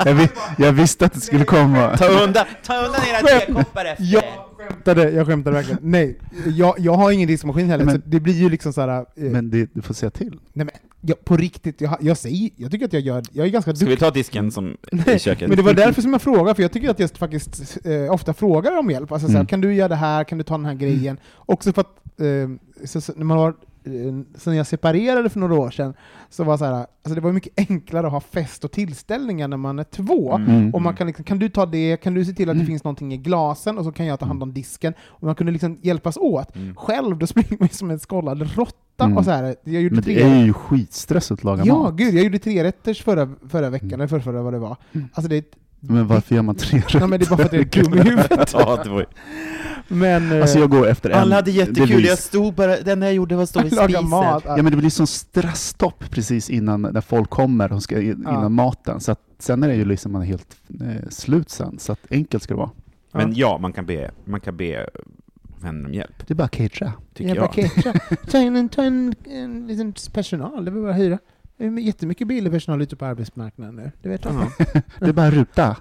Jag, vi, jag visste att det skulle komma. Ta undan! Ta undan era tekoppar efter. Jag skämtade, jag skämtade verkligen. Nej, jag, jag har ingen diskmaskin heller, Men- så det blir ju liksom så här. Eh, Men det, du får säga till. nej men, jag, på riktigt, jag, jag säger, jag tycker att jag gör, jag är ganska Ska vi duktig. ta disken som i köket? Men det var därför som jag frågade, för jag tycker att jag faktiskt eh, ofta frågar om hjälp. Alltså så här, Mm. kan du göra det här, kan du ta den här grejen? Också för att, eh, så, så, när man var, eh, sen jag separerade för några år sedan, så var så här, alltså det var mycket enklare att ha fest och tillställningar när man är två. Mm. Och man kan, liksom, kan du ta det, kan du se till att det finns någonting i glasen och så kan jag ta hand Mm. om disken. Och man kunde liksom hjälpas åt. Själv då springer man ju som en skållad råtta. Mm. Och så här, jag gjorde Men tre det är ju skitstress att laga Ja, mat. Mm. gud, jag gjorde tre rätters förra, förra veckan, eller förra, förra vad det var. Alltså det är ett- Men varför gör man tre Nej, men det är bara för att jag är dum i huvudet. Ja, det var ju... Men... eh, Alltså jag går efter en Alla hade jättekul, devis. jag stod bara, det enda jag gjorde var att stå vid laga spisen. mat. Ja men det blir sån stresstopp precis innan när folk kommer, de ska, innan Ja. maten. Så att sen är det ju liksom man är helt eh, slut sen, så att enkelt ska det vara. Men ja, man kan be, man kan be vänner om hjälp, Det är bara catera. tycker Jävla jag. catera. Ta in, en, ta in en liten personal, det vill bara hyra. Det är jättemycket billig personal ute på arbetsmarknaden nu, det vet jag. Ja. Det är bara ruta.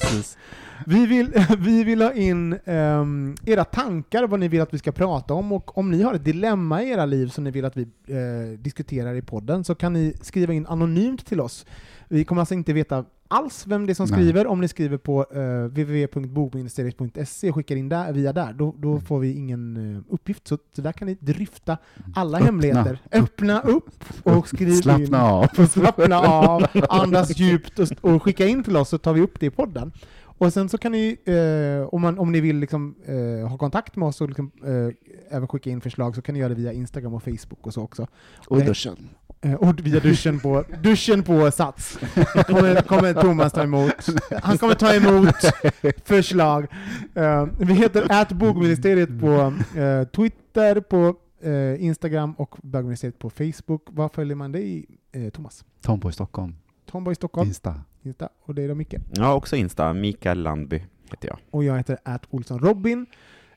Precis. Vi vill, vi vill ha in ehm, era tankar, vad ni vill att vi ska prata om, och om ni har ett dilemma i era liv som ni vill att vi eh, diskuterar i podden, så kan ni skriva in anonymt till oss. Vi kommer alltså inte veta alls vem det är som Nej. skriver, om ni skriver på eh, www.bokministeriet.se och skickar in där, via där, då, Mm. då får vi ingen eh, uppgift. Så, så där kan ni dryfta alla Mm. Öppna. hemligheter. Öppna upp och skriv in. Slappna av. Får slappna av, andas djupt och, och skicka in till oss så tar vi upp det i podden. Och sen så kan ni, eh, om, man, om ni vill liksom, eh, ha kontakt med oss och liksom, eh, även skicka in förslag så kan ni göra det via Instagram och Facebook och så också. Och Nej. duschen. Eh, och via duschen på, duschen på Sats. Kommer, kommer Thomas ta emot. Han kommer ta emot förslag. Eh, vi heter atbogministeriet på eh, Twitter, på eh, Instagram och bögministeriet på Facebook. Var följer man dig, eh, Thomas? Tomboy Stockholm, Tomboy Stockholm, Insta. Insta, och det är då Micke. Ja, också Insta. Mikael Landby heter jag. Och jag heter att Olsson Robin.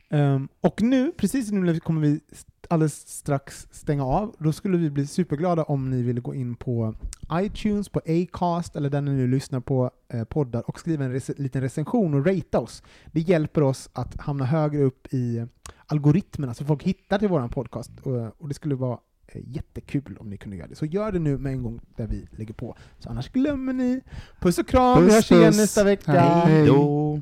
Ehm, och nu, precis nu kommer vi st- alldeles strax stänga av. Då skulle vi bli superglada om ni ville gå in på iTunes, på Acast eller där ni nu lyssnar på eh, poddar och skriva en rec- liten recension och ratea oss. Det hjälper oss att hamna högre upp i algoritmerna så folk hittar till våran podcast. Och, och det skulle vara eh, jättekul om ni kunde göra det. Så gör det nu med en gång där vi lägger på. Så annars glömmer ni. Puss och kram, vi Puss, hörs igen puss. nästa vecka. Hej då.